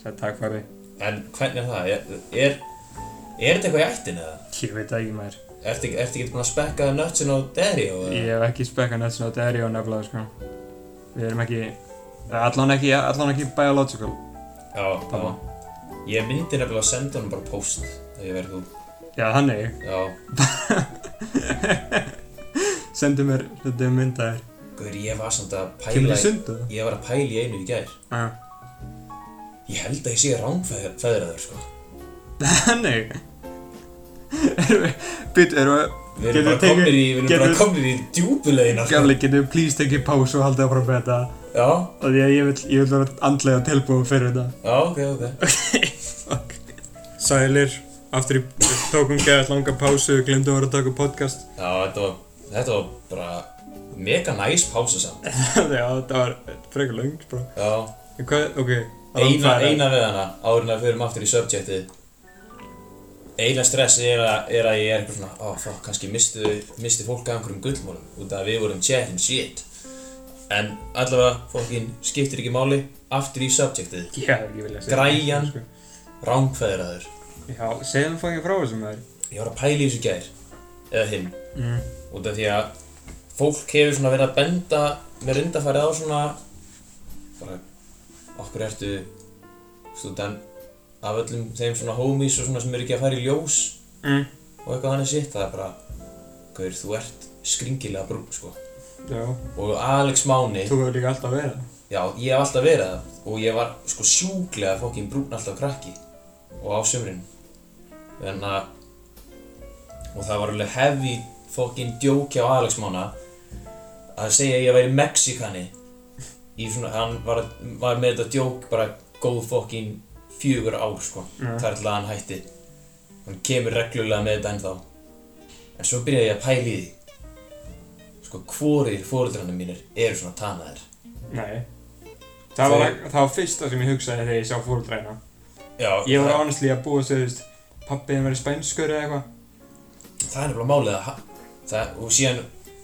sagði takk fari en hvernig er það? Er, er, er þetta eitthvað í ættin eða? ég veit það ekki maður Ertu ekki- ertu ekki búin að spekka nötsin á Derry og ég hef ekki spekka nötsinu að deri og nefnilega sko við erum ekki allan ekki, allan ekki biological Já, Pappa. já Ég myndi nefnilega að senda honum bara post ef ég verði þú já þannig, Já, sendu mér þetta myndaðir guður, ég var samt að kemur pæla þið sundu? Ég var að pæla í einu í gær já, Ég held að ég sé rángfæðraður, sko þannig Býtt, erum við Við Getum erum bara við tekið- komnir í, við erum getum bara við- komnir í djúbulegina, sko Gamli, getur við please tekið pás og haldið áfram með þetta Já, af því að ég vil, ég vil vera andlega tilbúið fyrir *laughs* þetta já, ok, ok Sælir, aftur í tókum geðað langa pásu, glemdum að vera að taka podcast *laughs* Já, þetta var, þetta var bara mega næs pása samt. Já, þetta var frekar langt bara Já, En Hvað, ok eina, eina við hana, áður en að við förum aftur í subjectið. Eina stressi er að, er að ég er eitthvað svona, ó, oh, fuck, kannski mistu, misti fólk að einhverjum gullmálum, út af að við vorum chatting shit. En allavega, fólkin skiptir ekki máli, aftur í subjectið, Já, ég vilja segja Græjan. sko. rángfæðraður. Já, segðum fangin frá þessum maður Ég var að pæla í þessu í gær, eða hinn, mm. út af því að fólk hefur svona verið að benda með rindafærið á svona bara, okkur ertu stúdent af öllum þeim svona homies og svona sem eru ekki að fara í ljós Mm. og eitthvað annað sitt, það er bara Gaur, þú ert skringilega brún, sko Já, og Alex Máni, þú hefur líka alltaf verið það. já, ég hef alltaf verið það og ég var sko sjúklega fokkin brún alltaf krakki og á sömrin en að og það var alveg heavy fokkin djóki á Alex Mána að segja að ég væri mexikani í svona, hann var, var með þetta djók bara góð fokkin fjögur ár sko Já. þar til að hann hætti hann kemur reglulega með þetta ennþá en svo byrjaði ég að pæla í því sko hvorir fóreldrarnir mínir eru svona tanaðir Nei Það var, Þegar- það var fyrsta sem ég hugsaði þegar ég sá fóruldræna já, Ég var það, honestly að búa sig, þú veist Pappi þeim verið spænskur eða eitthvað það er nefnilega málið að ha- það, og síðan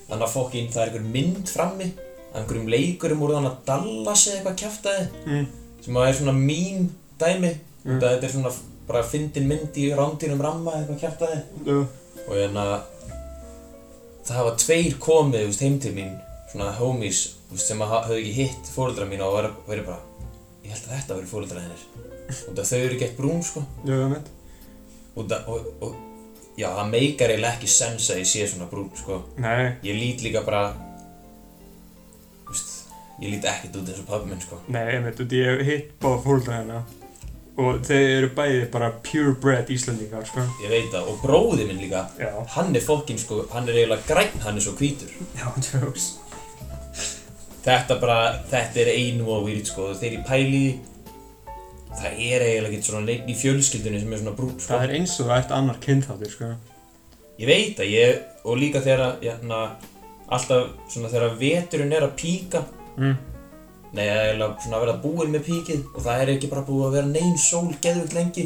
þannig að fokkin það er einhver mynd frammi af einhverjum leikurum úr þannig að Dallas eða eitthvað kjæftæði mm. sem að er svona mín dæmi Mm. þetta er svona bara fyndin mynd í rándýrum ramma eða eitthvað kjæftæði Jú. og hérna það hafa tveir komið þú veist, heim til mín svona homies þú veist, sem að ha- höfðu ekki hitt fóröldra mína og verið veri bara ég held að þetta verið fóröldra þennir og það þau eru gett brún sko Jú, ég veit og, það, og, og já það meikar eiginlega ekki sens að ég sé svona brún sko Nei, ég lít líka bara þú veist, ég lít ekkert út eins og pabbi minn sko nei, ég veit, út í ég hef hitt báða fóruldræna Og þeir eru bæði bara purebred Íslandingar, sko ég veit það og bróði minn líka Já, hann er fokkin sko hann er eiginlega græn hann er svo hvítur já, jokes Þetta bara, þetta er einu og výrt sko, þegar ég pæli í því, Það er eiginlega ekki svona neitt í fjölskyldunni sem er svona brún sko Það er eins og það ert annar kynþáttir, sko Ég veit að ég, og líka þegar að, hérna, alltaf svona þegar að veturinn er að píka mm. Nei, eiginlega svona að vera búinn með píkið og það er ekki bara búið að vera neyn sól geðvögt lengi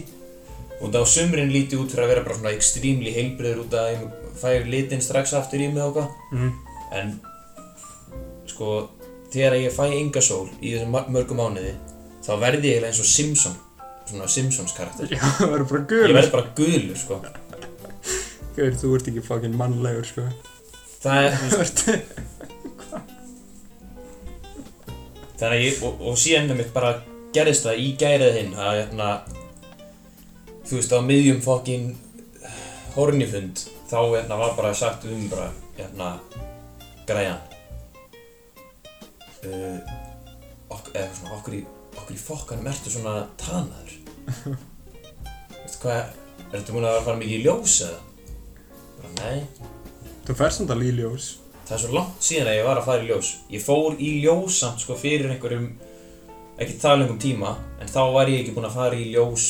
Og þá sumrin líti út fyrir að vera bara svona extrímli heilbriður út að ég fæ litinn strax aftur í mig og hvað Mm. En sko, þegar ég fæ enga sól í þessum mar- mörgu mánuði þá verði ég eiginlega eins og Simpson svona Simpsons karakter Já, *laughs* það verður bara Ég gul verð bara gulur sko Gaur, þú ert ekki fucking mannlegur, sko Það er, Þú ert þannig að ég, og, og síðan með mitt bara gerðist það í gærið hinn að hérna þú veist á miðjum fokkin eh, hornifund þá hérna var bara sagt um bara hérna græjan uh, ok, eða svona okkur í okkur í fokkanum ertu svona tanaður veistu hvað ertu múin að vera að fara mikið í ljós eða bara nei Þú ferð samt alveg í ljós. það er svo langt síðan að ég var að fara í ljós ég fór í ljós samt sko fyrir einhverjum ekki það lengum tíma en þá var ég ekki búinn að fara í ljós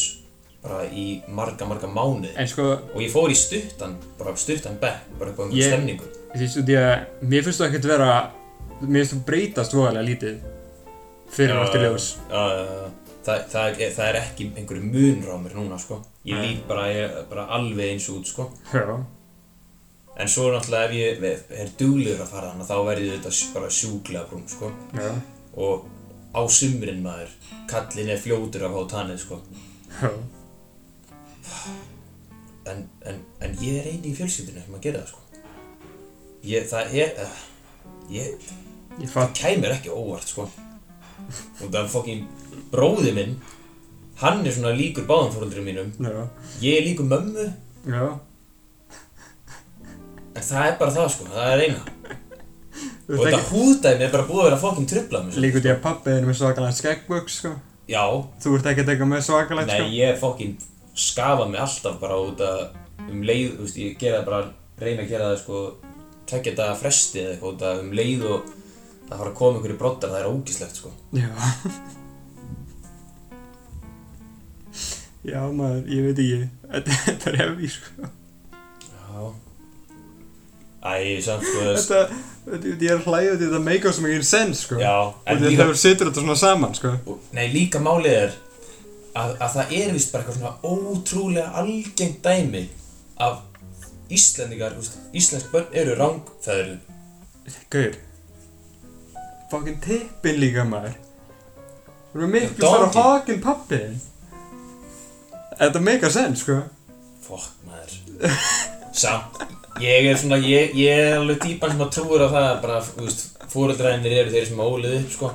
bara í marga marga mánuði En sko, og ég fór í stuttan bara stuttan bekk bara upp á einhverjum Ég- stemningu þú veist, út í að mér finnst þú ekkert vera, mér finnst þú breytast voðalega lítið fyrir Já, hann eftir ljós. já, já, já. það, það, er, það er ekki einhverjum munur á mér núna sko ég Nei. lít bara, ég, bara alveg eins út sko Já, en svo náttúrulega ef ég ef- er duglegur að fara þannig þá verði þetta sj- bara sjúklega brún sko já, og á sumrin maður kallin er fljótur af hótanið sko já. en, en, en ég er eini í fjölskyldinu sem að gera það sko ég, það er uh, ég, Ég það fatt, kæmir ekki á óvart sko og það er fokkin bróði minn hann er svona líkur báðum fóröldurinn mínum já, ég er líkur mömmu já. en það er bara það sko, það er eina Þú og veist þetta ekki, húðdæmi er bara búið að vera fokkin trubla mér sko. líka út í að pappið er með svakalega skeggvöks, sko. já, Þú ert ekkert eitthvað með svakalega, nei sko. ég fokkin skafa mig alltaf bara út að um leið, þú veist, ég gera það bara reyna að gera það sko tekja þetta fresti eða eitthvað út að um leið og það fara að koma einhverju broddar, það er ógislegt sko Já. Já, maður, ég veit ekki, Þetta- þetta er hefði, sko. Já Æ, samt sko þess Þetta, þetta, ég er hlæðið, þetta make us make sense, sko. Já, Og en þetta líka hefur situr þetta svona saman, sko. Nei, líka málið er að, að það er vist bara eitthvað svona ótrúlega algengt dæmi af Íslendingar, úst, íslensk börn eru rangfæður Gauður Fucking tippin líka maður Þú erum miklu Já, stara doggy. hakin pappi þinn. Þetta make a sense sko Fokk maður Samt, ég er svona, ég, ég er alveg típan sem að trúur á það að bara, þú veist, fóreldræðinir eru þeir sem að ólið upp, sko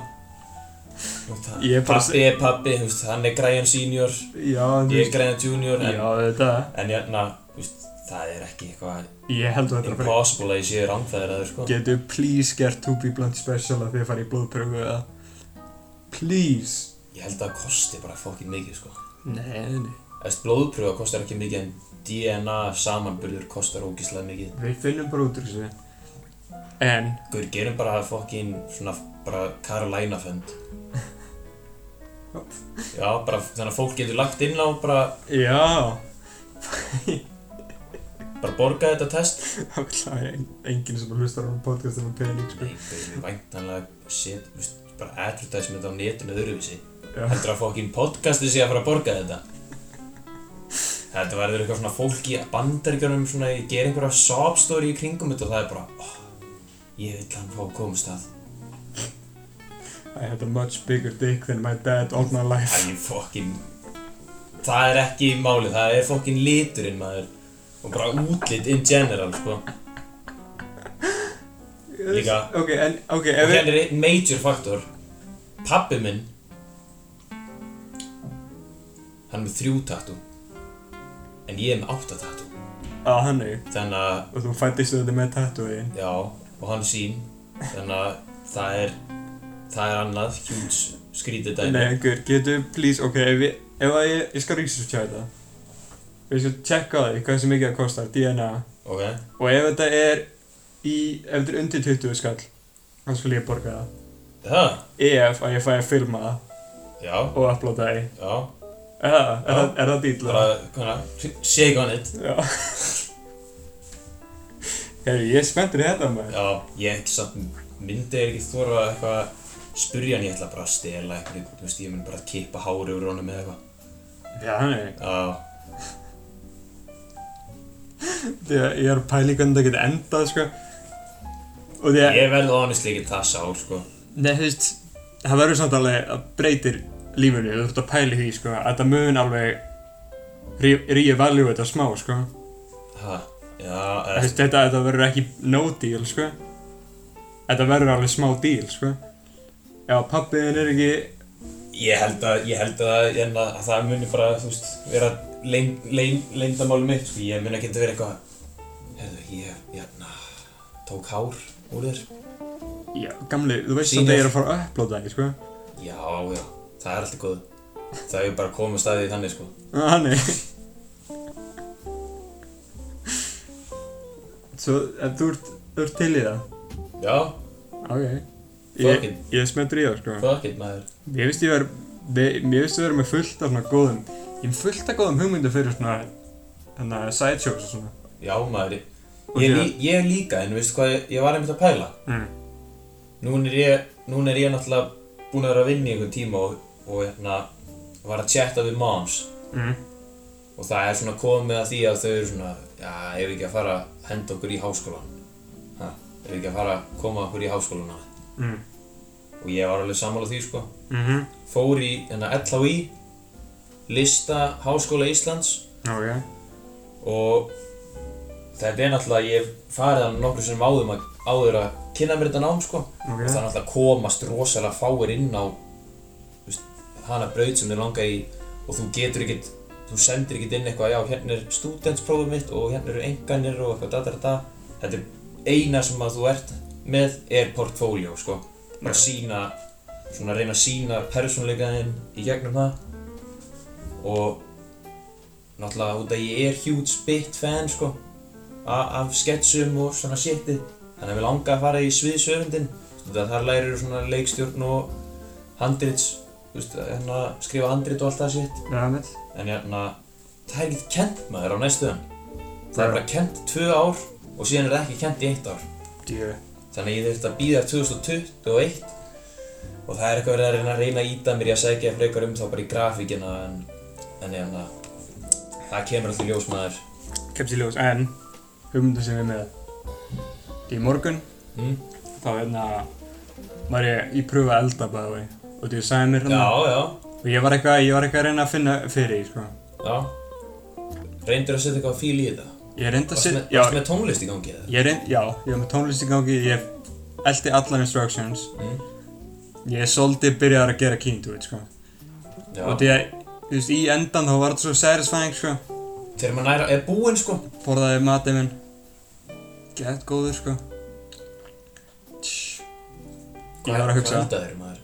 Þú veist, það- Ég er bara- Pabbi er pabbi, þú veist, hann er græjan senior, Já, þú ég er veist græjan junior en, Já, þetta en hérna, þú veist, það er ekki eitthvað Ég held að þetta er bara Impossible að ég sé rangfæðraður sko Getu please gert 2B blunt special að þið farið í blóðpröfu eða Please Ég held að það kosti bara fokkin mikið sko Nei, nei Eftir blóðpröfa kostar ekki mikið en DNA samanburður kostar ógíslega mikið Við finnum bara út úr þessu En Guður, gerum bara fokkin svona bara Carolina fund Já, bara þannig að fólk getur lagt inn á bara, Já, bara borga þetta test *laughs* það er en- enginn sem hlustar á podcastum um pening, sko. Nei, það er væntanlega set, veist, bara advertisement á netinu öðruvísi Já. Heldur að fokkin podcasti sé að fara að borga þetta Þetta verður eitthvað svona fólk í bandaríkjörnum svona, ég ger einhverja sob story í kringum þetta og það er bara oh, Ég vil hann fá að komast að I had a much bigger dick than my dad all my life. Það er fokkin Það er ekki málið, það er fokkin liturinn maður Og bara útlit in general, sko Líka. Ok, en, ok, Og ef við... hérna er einn major faktor Pappi minn Hann er með þrjú tattoo En ég er með átta tattoo Á, hann er. Þannig að, Og þú fættist þetta með tattooðin. já, og hann sín Þannig að það er Það er annað, huge skrítið dæmi Nei, einhver, getur, please, ok, ef við... Ef að ég... Ég skal researcha þetta. Við skal checka á því hvað sem mikið það kostar, DNA. Ok, Og ef þetta er í... Ef þetta er undir 20 skall, þá skal ég borga það. það, Ef að ég fæ að filma það já, og uploada það í. já Er það? Er það- Er það dýtla? Bara, hvernig, shake on it Já Herri, ég er spenntur í þetta maður Já, ég samt myndi er ekki þóra að eitthvað spurja hann, ég ætla bara að stela eitthvað, þú veist, ég mun bara að kippa hári úr honum eða eitthvað. Já, nei Já, Þegar ég er að pæla í hvernig það getur endað, sko Og því að ég verði honestly ekki það sár, sko. Nei, þú veist Það verður samt alveg að breytir lífinu Þú þurft að pæla í því, sko Að það mun alveg Reevaluate þetta smá, sko Ha, Þú já, eða, veist, þetta, þetta verður ekki no deal, sko Þetta verður alveg smá deal, sko Já, pappiðin er ekki ég held að, ég held að, ég held að það muni bara, þú veist, vera leynd, leynd, leyndamáli mitt, sko, ég mun ekki að vera eitthvað, herðu, ég, ég, na, tók hár úr þér. Já, gamli, þú veist Sýnir. samt að ég er að fara að upplóta það, sko Já, já, það er alltaf góð. Það er bara að koma staðið í þannig, sko. Ah, nei. *laughs* Svo, ef þú ert, þú ert til í það, Já, ok. Fuck Ég, it. ég er smettur í það, sko. fuck it, maður. Mér finnst ég verið, mér finnst ég verið með fullt af svona góðum, ég er fullt af góðum hugmyndu fyrir svona, þannig að sideshows og svona. Já, maður, ég- Og ég, því að- lí, ég líka, en veistu hvað, ég, ég var einmitt að pæla. Mm. Núna er ég, núna er ég náttúrulega búinn að vera að vinna í einhvern tíma og, og hérna, var að chatta við moms. Mm. Og það er svona komið að því að þau eru svona, já, ef við ekki að fara að henda okkur í háskólan. Ha, ef við ekki að fara að koma okkur í háskólana. Mm. Og ég var alveg sammála því, sko. Mhm. Fór í, hérna, LHÍ, lista Háskóla Íslands Ok. og þetta er náttúrulega, ég hef farið hann nokkur sem áður, um að- áður að kynna mér þetta nám sko Ok. og það er náttúrulega komast rosalega fáir inn á þú veist, hana braut sem þið langar í og þú getur ekkert, þú sendir ekkert inn eitthvað já, hérna er stúdentsprófið mitt og hérna eru enganir og eitthvað da da da da. þetta er eina sem að þú ert með er portfóljó sko bara sína, svona reyna að sína persónuleikaðin í gegnum það og náttúrulega út að ég er huge bit fan sko a- af sketsum og svona shitið þannig að við langa að fara í sviðsöfundin þar lærir svona leikstjórn og handrits þú veist, hérna, skrifa handrit og allt það sitt Já, mitt. en hérna, það er ekkert kent maður á næstuðan það er bara kent tvö ár og síðan er það ekki kent í eitt ár Djö. þannig að ég þurfti að býða 2021 og það er eitthvað verið að reyna að reyna að íta mér í að segja frekar um þá bara í grafíkina en, en hérna, það kemur alltaf ljós maður Kemst í ljós, en hugmyndu sem ég er með. Í morgun mm? þá hérna var ég í pröfu að elda bæði vei og þú sagði mér já, hérna já, og ég var eitthvað, ég var eitthvað að reyna að finna fyrir því sko já reyndur að setja eitthvað fíl í þetta ég reyndi að varst með, setja, varst já, með tónlist í gangi eða? ég reyndi, já ég var með tónlist í gangi, ég eldi allar instructions Mm. ég er svolítið byrjaðar að gera keen to it sko Já, og því að, þú veist, í endan þá var þetta svo satisfying sko þegar maður næra er búinn sko forðaði matið minn gett góður sko Tss. ég var að hugsa Hvað er maður?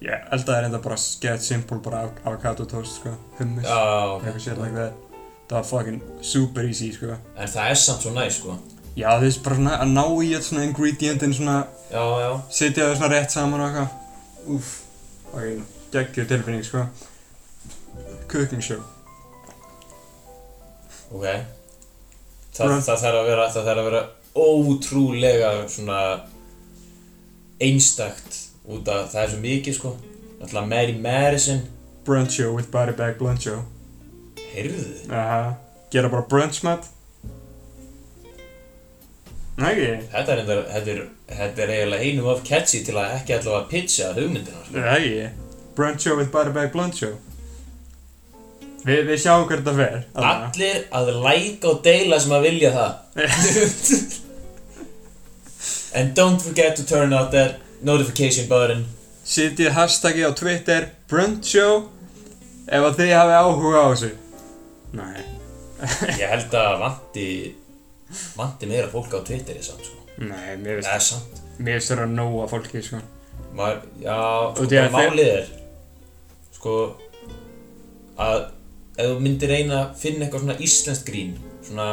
ég eldaði reynda bara gett simple bara av- avocado toast sko hummus Já, ok. eitthvað shit like that það var fucking super easy sko En það er samt svo næ sko já þú veist bara svona að ná í þetta svona ingredientin svona Já, já setja það svona rétt saman og eitthvað uff fucking geggjur tilfinning sko cooking show Ok Það, Right. það þarf að vera, það þarf að vera ótrúlega svona einstakt út af það er svo mikið sko Náttúrulega Mary Madison brunch show with body bag blunt show Heyrðu Aha. gera bara brunch mat Nei, ekki Þetta er, reyndar- þetta er, þetta er eiginlega einum of catchy til að ekki allavega pitcha hugmyndinar Nei, ekki brunch show with body bag blunt show Vi, við sjáum hvert það fer allavega. Allir að like og deila sem að vilja það And don't forget to turn out that notification button *laughs* setjið hashtagið á Twitter brunch show ef að þið hafi áhuga á þessu Nei Ég held að vanti vanti meira fólk á Twitter í samt sko. Nei, mér Eða samt finnst mér finnst það að nóa fólki sko. Maður, já, sko, Og því að bara málið er sko að ef þú myndir reyna að finna eitthvað svona íslenskt grín svona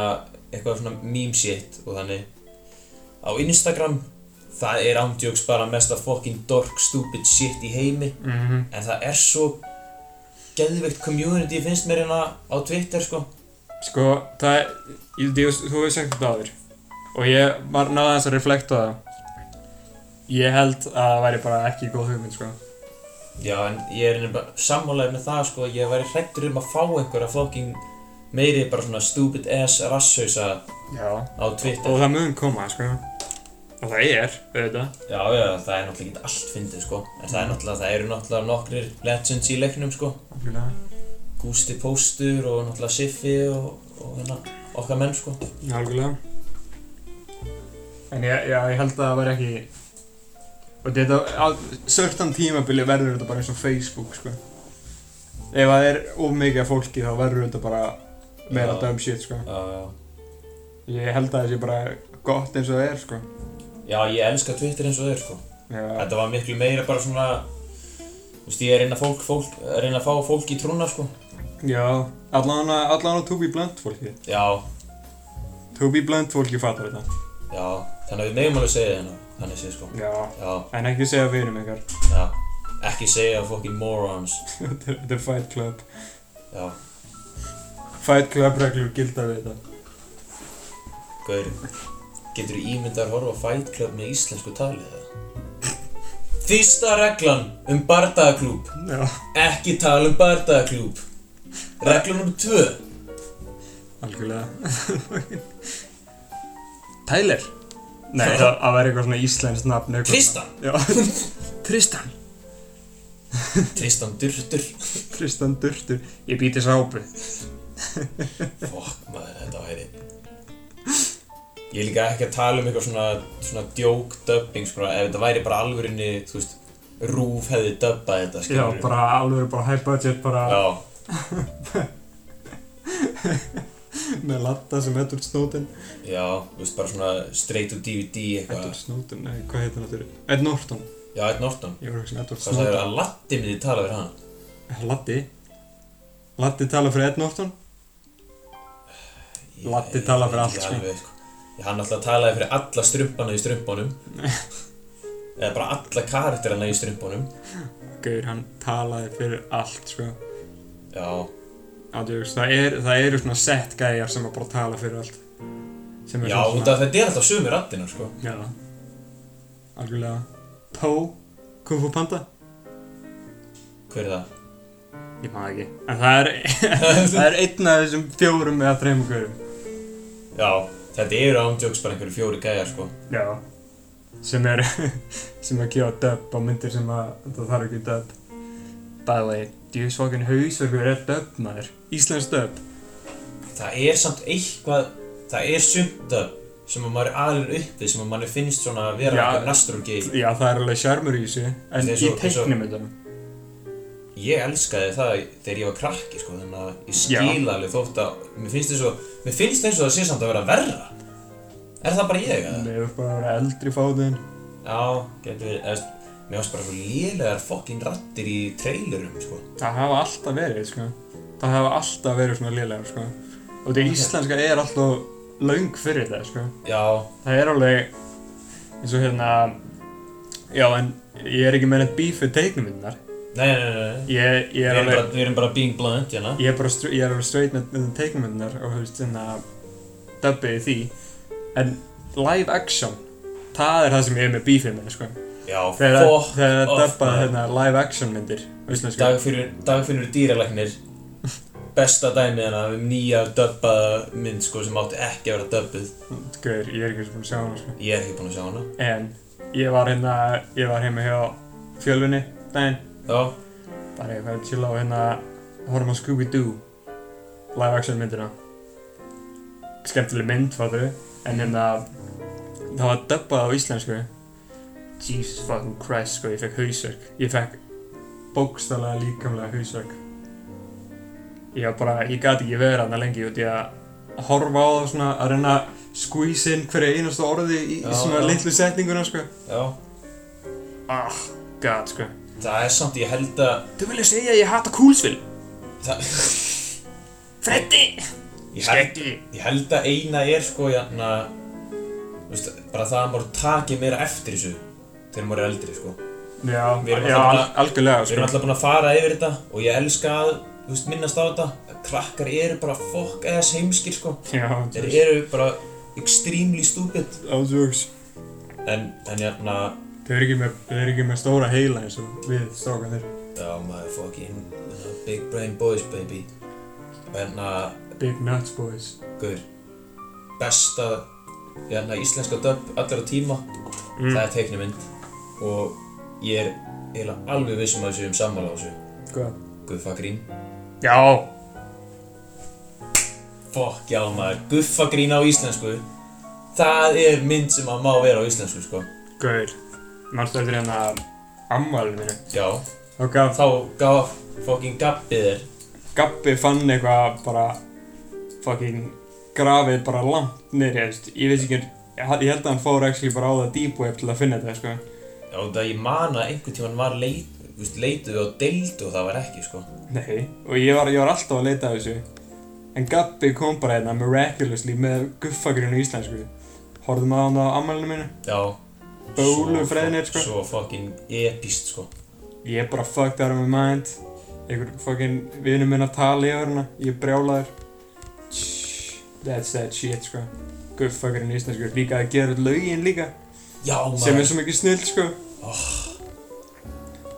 eitthvað svona meme shit og þannig á Instagram það er ándjóks bara mesta fucking dork stupid shit í heimi mm en það er svo geðveikt community finnst mér hérna á Twitter sko Sko, það er, ég, þú, þú hefur sagt þetta áður og ég var náða þess að reflekta það Ég held að það væri bara ekki góð hugmynd, sko Já, en ég er nefnilega sammálaðið með það, sko, ég væri hrættur um að fá einhverja fucking meiri bara svona stupid ass rasshausa Já á Twitter. Og það mun koma, sko Og það er, auðvitað Já, já, það er náttúrulega ekki allt fyndið, sko, en það er náttúrulega, það eru náttúrulega nokkrir legends í leiknum, sko, Algjörlega. Gústi Póstur og náttúrulega Siffi og, og hérna, okkar menn, sko. Algjörlega En ég, já, ég held að það væri ekki Og þetta, á sörtan tímabili verður þetta bara eins og Facebook, sko Ef það er of mikið af fólki þá verður þetta bara meira Já. dumb shit, sko Já, já, Ég held að það sé bara gott eins og það er, sko já, ég elska Twitter eins og þau, sko. Já, Þetta var miklu meira bara svona, þú veist, ég er að reyna, fólk, fólk, að reyna að fá fólk í trúna, sko. já allan að, allan að to be blunt fólki Já, To be blunt fólki fattar þetta já, þannig að við megum alveg segja þetta, þannig séð, sko. Já Já, En ekki segja við erum ykkar *laughs* já, ekki segja fucking morons Þetta er- þetta er Fight Club Já, Fight Club reglur gilda við þetta gaur Getur þú ímyndar að horfa á Fight Club með íslensku talið eða? Fyrsta reglan um bardagaklúb Já Ekki tala um bardagaklúb Reglan nr. 2 Algjörlega *laughs* Tyler Nei, það, það væri eitthvað svona íslensk nafn eitthvað. Tristan. Já, Tristan Tristan Durdur Tristan Durtur Ég býti sápu Fokk maður, þetta væri Ég er líka ekki að tala um eitthvað svona, svona djók dubbing sko, ef þetta væri bara alvörinni, þú veist Rúf hefði dubbað þetta, Já, skilurðu. bara alveg bara high budget bara Já, með latta sem Edward Snowden Já, þú veist, bara svona straight to DVD eitthvað. Edward Snowden, nei, hvað heit hann aftur? Ed Norton Já, Ed Norton. Ég var ekki Edward Hvað það er Snowden að Latti myndi tala fyrir hann? Latti Latti tala fyrir Ed Norton Latti talar fyrir allt, sko. sko. Ég, hann alltaf talaði fyrir alla strumpana í *laughs* strumpunum. Eða bara alla karakterana í strumpunum. Gaur, hann talaði fyrir allt, sko Já, Ádjöfis, það, er, það eru svona set gæjar sem að bara tala fyrir allt Sem er já, svona- út af þetta er alltaf sömu rattina, sko. Já Algjörlega Pó Kung Fu Panda Hver er það? Ég maður ekki En það er *laughs* Það er einn af þessum fjórum eða þreymum gaurum Já, þetta eru ándjóks bara einhverju fjóri gæjar, sko. Já Sem er *laughs* Sem er að gefa dub á myndir sem að Það þarf ekki dub By the way Djús fokkin hausverkur er dub maður Íslands dub Það er samt eitthvað, það er sumta sem að maður er alveg uppið, sem að maður finnst svona að vera Já. eitthvað nasturgi. Já það er alveg sjarmur í þessu En Þetta er í svo- teiknum þetta Ég elskaði það þegar ég var krakki sko, þannig að ég Já. skil alveg þótt að mér finnst eins og, mér finnst eins og það sé samt að vera verra. Er það bara ég eða? Nei, þú ert bara að vera eldri fáðin Já, getur verið, eða, veist, mér finnst bara svo lélegar fokkin rattir í trailerum sko. Það hafa alltaf verið, sko. Það hafa alltaf verið svona lélegar, sko. Og því íslenska er alltaf laung fyrir það, sko. Já, Það er alveg eins og hérna... Já, en ég er ekki með neitt bíf við teiknuminnar. Nei, nei, nei, nei. Ég, ég Við er erum, bara, alveg, við erum bara being blunt, hérna. ég er bara, str- ég er alveg straight með, með teiknumundunar og þú veist, hérna, dubbið í því. En live action, það er það sem ég er með bífið minni, sko. Já, Þegar fokk. það er off, dubbað, maður. hérna, live action myndir, íslensku. Dagfinnur, dagfinnur dýralæknir. Besta dæmið hérna um nýja dubbaða mynd, sko, sem átti ekki að vera dubbuð. Gauður, ég er ekki eins og búin að sjá hana, sko. Ég er ekki búinn að sjá hana. En ég var hérna, ég var heima hjá fjölunni daginn, Já, bara ég fæði chilla og hérna horfum á Scooby-Doo live action myndina skemmtileg mynd, fattu en hérna það var dubbað á íslensku Jesus fucking Christ, sko, ég fekk hausverk ég fekk bókstallega líkamlega hausverk ég var bara, ég gati ekki verið hana lengi út í að horfa á það svona að reyna að squeeze inn hverju einasta orði í, Já, í svona já. litlu setninguna, sko já. Ah, god, sko Það er samt, ég held að... Þú vilja segja að ég hata kúlsvill? Það, Freddi! ég held Ég held að eina er sko jæna, veist, bara það að maður taki meira eftir þessu þegar maður er eldri sko. Já, Við erum já, alltaf al bara- algjörlega, Við erum sko alltaf búin að fara yfir þetta og ég elska að þú veist, minnast á þetta. að Krakkar eru bara fokk aðeins heimskir sko. Já, Þeir eru bara extremely stupid. átjóks En, en hérna, jæna, Þau eru ekki með, þau eru ekki með stóra heila eins og við strákanir já maður fucking jæna, big brain boys baby. Hérna, En að, Big nuts boys guður, besta jæna, íslenska dub allra tíma það er teiknumynd og ég er eiginlega alveg vissum að þessu um sammála á þessu Hvað? Guffagrín Sko. Já Fokk já maður, Guffagrín á íslensku Það er mynd sem að má vera á íslensku sko Gaur Manstu eftir hérna ammálinu mínu Já, Og gaf þá gaf fokkin gabbið þér Gabbi fann eitthvað bara Fucking grafið bara langt niður, ég veist Ég veist ekki, ég ég held að hann fór ekki bara á það deep web til að finna þetta, sko Já, það ég man að einhvern tímann var leit, viðst, leituð við á deild og það var ekki sko Nei, og ég var, ég var alltaf að leita að þessu En Gabbi kom bara hérna miraculously með guffagrinu íslensku Horfðum að hann á ammælinu mínu Já Bólu svo freðinir, fokk- sko. Svo fokkin epist sko Ég bara fucked out of my mind Einhver fucking vinur minn að tala yfir hana Ég brjálaður That's that shit, sko Guffagrinu íslensku Líka að gera öll lögin líka Já Sem er maður, svo mikið snill, sko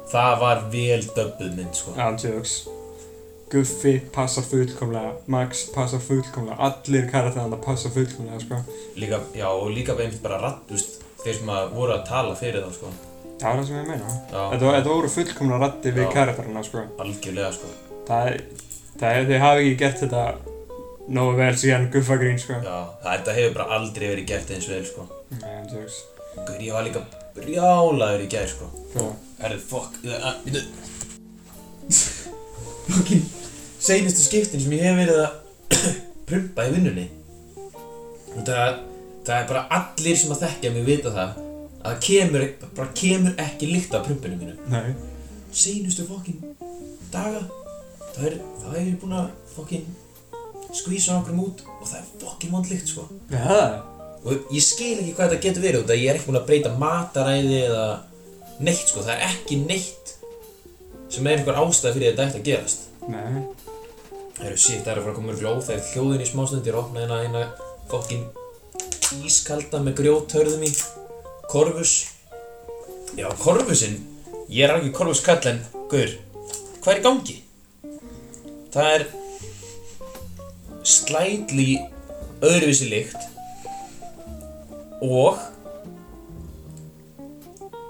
það var vel döbbuð mynd sko Antjóks Guffi passa fullkomlega Max passa fullkomlega Allir karakterana passa fullkomlega, sko Líka, já, og líka við einmitt bara rattust þeir sem að voru að tala fyrir þá, sko. Það var það sem ég meina Já, Þetta, var- þetta voru fullkomna rætti við Já. karakterina, sko. algjörlega, sko. Það er, það er, þið hafi ekki gert þetta nógu vel síðan guffagrín, sko. Já, þetta hefur bara aldrei verið gert eins vel, sko. Nei, hann tjóks. Guður, ég var líka brjálaður í gær, sko. Já. Erðu, fokk, við þau... Fokkin, seinustu skiptin sem ég hef verið að *clears throat* prumpa í vinnunni. Og það, það er bara allir sem að þekkja mig vita það, að það kemur, bara kemur ekki lykt af prumpinu mínu. Nei. seinustu fokkin daga þá er, þá er ég búinn að fokkin skvísa nokkrum út og það er fokkin vond lykt sko Já, það. og ég skil ekki hvað þetta getur verið út að ég er ekki búinn að breyta mataræði eða neitt sko, það er ekki neitt sem er einhver ástæð fyrir þetta ætti að gerast Nei. það eru síkt, það eru frá komur glóð það er hljóðin í smástundir, opna hérna eina fokkin ískalda með grjóthörðum í korfus já, korfusinn ég er ekki korfuskall en guður, hvað er í gangi? það er slætli öðruvísi lykt og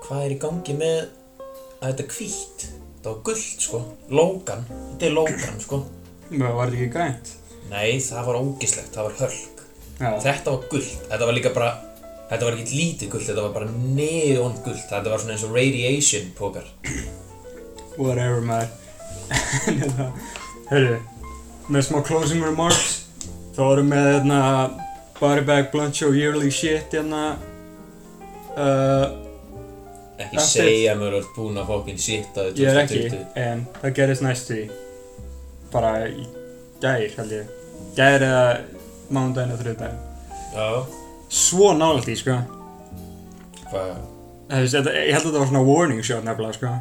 hvað er í gangi með að þetta er hvítt þetta var gullt sko, lókan þetta er lókan sko Það var þetta ekki grænt. Nei, það var ógislegt, það var hölk. Já. Þetta var gullt, þetta var líka bara, þetta var ekki lítið gullt, þetta var bara neon gullt, þetta var svona eins og radiation pókar. Whatever, maður. *laughs* En hérna, heyrðu, með smá closing remarks, þá erum við hérna Body Bag Blunt Show Yearly Shit hérna. Uh, Ekki That's it. segja mér að þú ert búinn að fókin sitta þau ég er ekki, en það gerist næstu í. Bara í gær, held ég. Gær eða mánudaginn og þriðdaginn. Já, svo nálægt í, sko. hvað? Þú veist, þetta- Ég held að þetta var svona warning shot nefnilega, sko.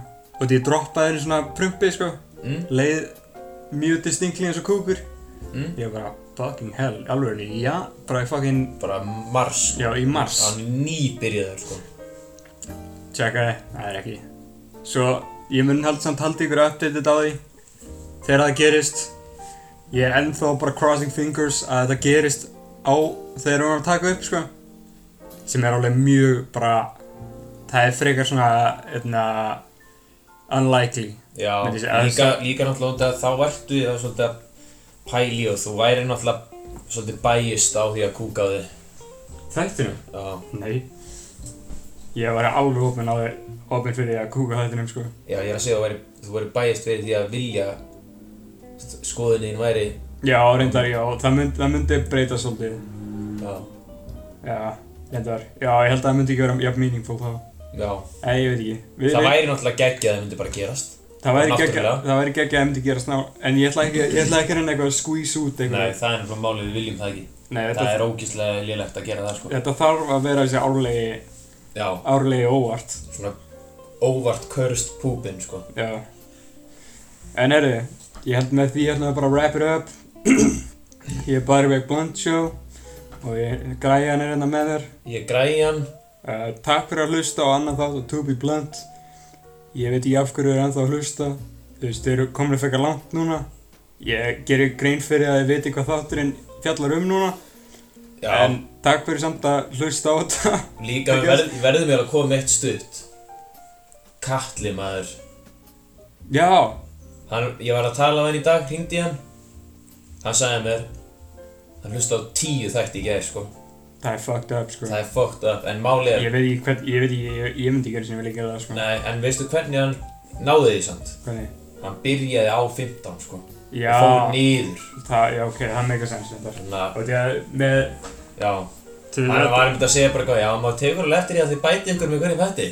og því ég droppaði henni svona prumpi sko Mm, leið mjög distinctly eins og kúkur mm. ég var bara fucking hell alveg henni já bara í fucking Bara mars, sko. já í mars Hann er nýbyrjaður, sko. tjekkaði það er ekki svo ég mun hald samt haldi ykkur updated á því þegar það gerist ég er ennþá bara crossing fingers að þetta gerist á þegar við erum að taka upp sko sem er alveg mjög bara það er frekar svona eitna, unlikely Já, Myndi segja, líka, líka náttúrulega út að þá ertu í það svolítið að pæli og þú væri náttúrulega svolítið bæjist á því að kúka á þig. þættinum Já, Nei Ég var alveg opinn á því opinn fyrir því að kúka þættinum sko já, ég er að segja að þú væri, þú væri bæjist fyrir því að vilja skoðunin væri, Já, reyndar, já, það, mynd, það myndi breyta svolítið já, Já, reyndar, já, ég held að það myndi ekki vera jafn meaningful þá já. Nei, ég veit ekki Við, Það væri náttúrulega geggjað að það myndi bara gerast. það væri ekki náttúrulega. Það væri ekki að það myndi gera sná En ég ætla ekki, ég ætla ekki að reyna eitthvað að squeeze út Nei, eitthvað það er náttúrulega málið, við viljum það ekki. Nei Það þetta, er ógíslega lélegt að gera það, sko. þetta þarf að vera þessi árlegi, Já, árlegi óvart svona óvart körst púpin, sko. Já En herru, ég held með því hérna bara að wrap it up *clears throat* Ég er Barwick Blunt Show og ég, græjan er hérna með þér Ég græði hann, Uh, takk fyrir að hlusta á annan þátt og To Be Blunt Ég veit ekki af hverju er ennþá að hlusta Þú veist, þeir eru komin að fekka langt núna Ég gerir grein fyrir að ég veit hvað þátturinn fjallar um núna já, En takk fyrir samt að hlusta á þetta *laughs* líka Það við verð, verðum við að koma með eitt stutt. Katli, maður. Já, Hann, ég var að tala á hann í dag, hringdi í hann Hann sagði mér Hann hlusta á tíu þætti í gær, sko það er fucked up sko Það er fucked up, en málið er Ég veit ekki hvern, ég veit ekki, ég, ég myndi ekki sem ég vil ekki gera það sko Nei, en veistu hvernig hann náði því samt? Hvernig? Hann byrjaði á 15, sko Já, Og fór niður það, já ok, það meika sens þetta Þannig að, Og því að með já til Hann var einmitt að segja bara eitthvað Já, maður tegur alveg eftir því að þið bæti ykkur með hverjum þætti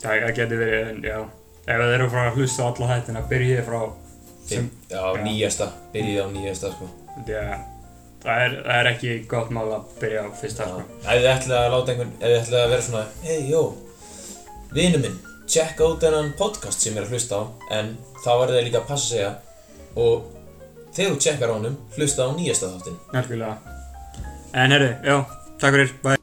Það það geti verið, en já Ef þeir eru frá að hlusta á alla hættina, byrjið frá sem Fimm- Já, Já. nýjasta Byrjaði á nýjasta, sko Já, það er, það er ekki gott mál að byrja á fyrsta Já. sko. Ef þið ætlaði að láta einhvern, ef þið ætlaði að vera svona Hei, jó, vinu minn, tjekka út þennan podcast sem ég er að hlusta á En þá verður þið líka að passa sig að Og þegar þú tjekkar á honum, hlusta á nýjasta þáttinn Nærkjulega. En herri, já, takk fyrir, bæ.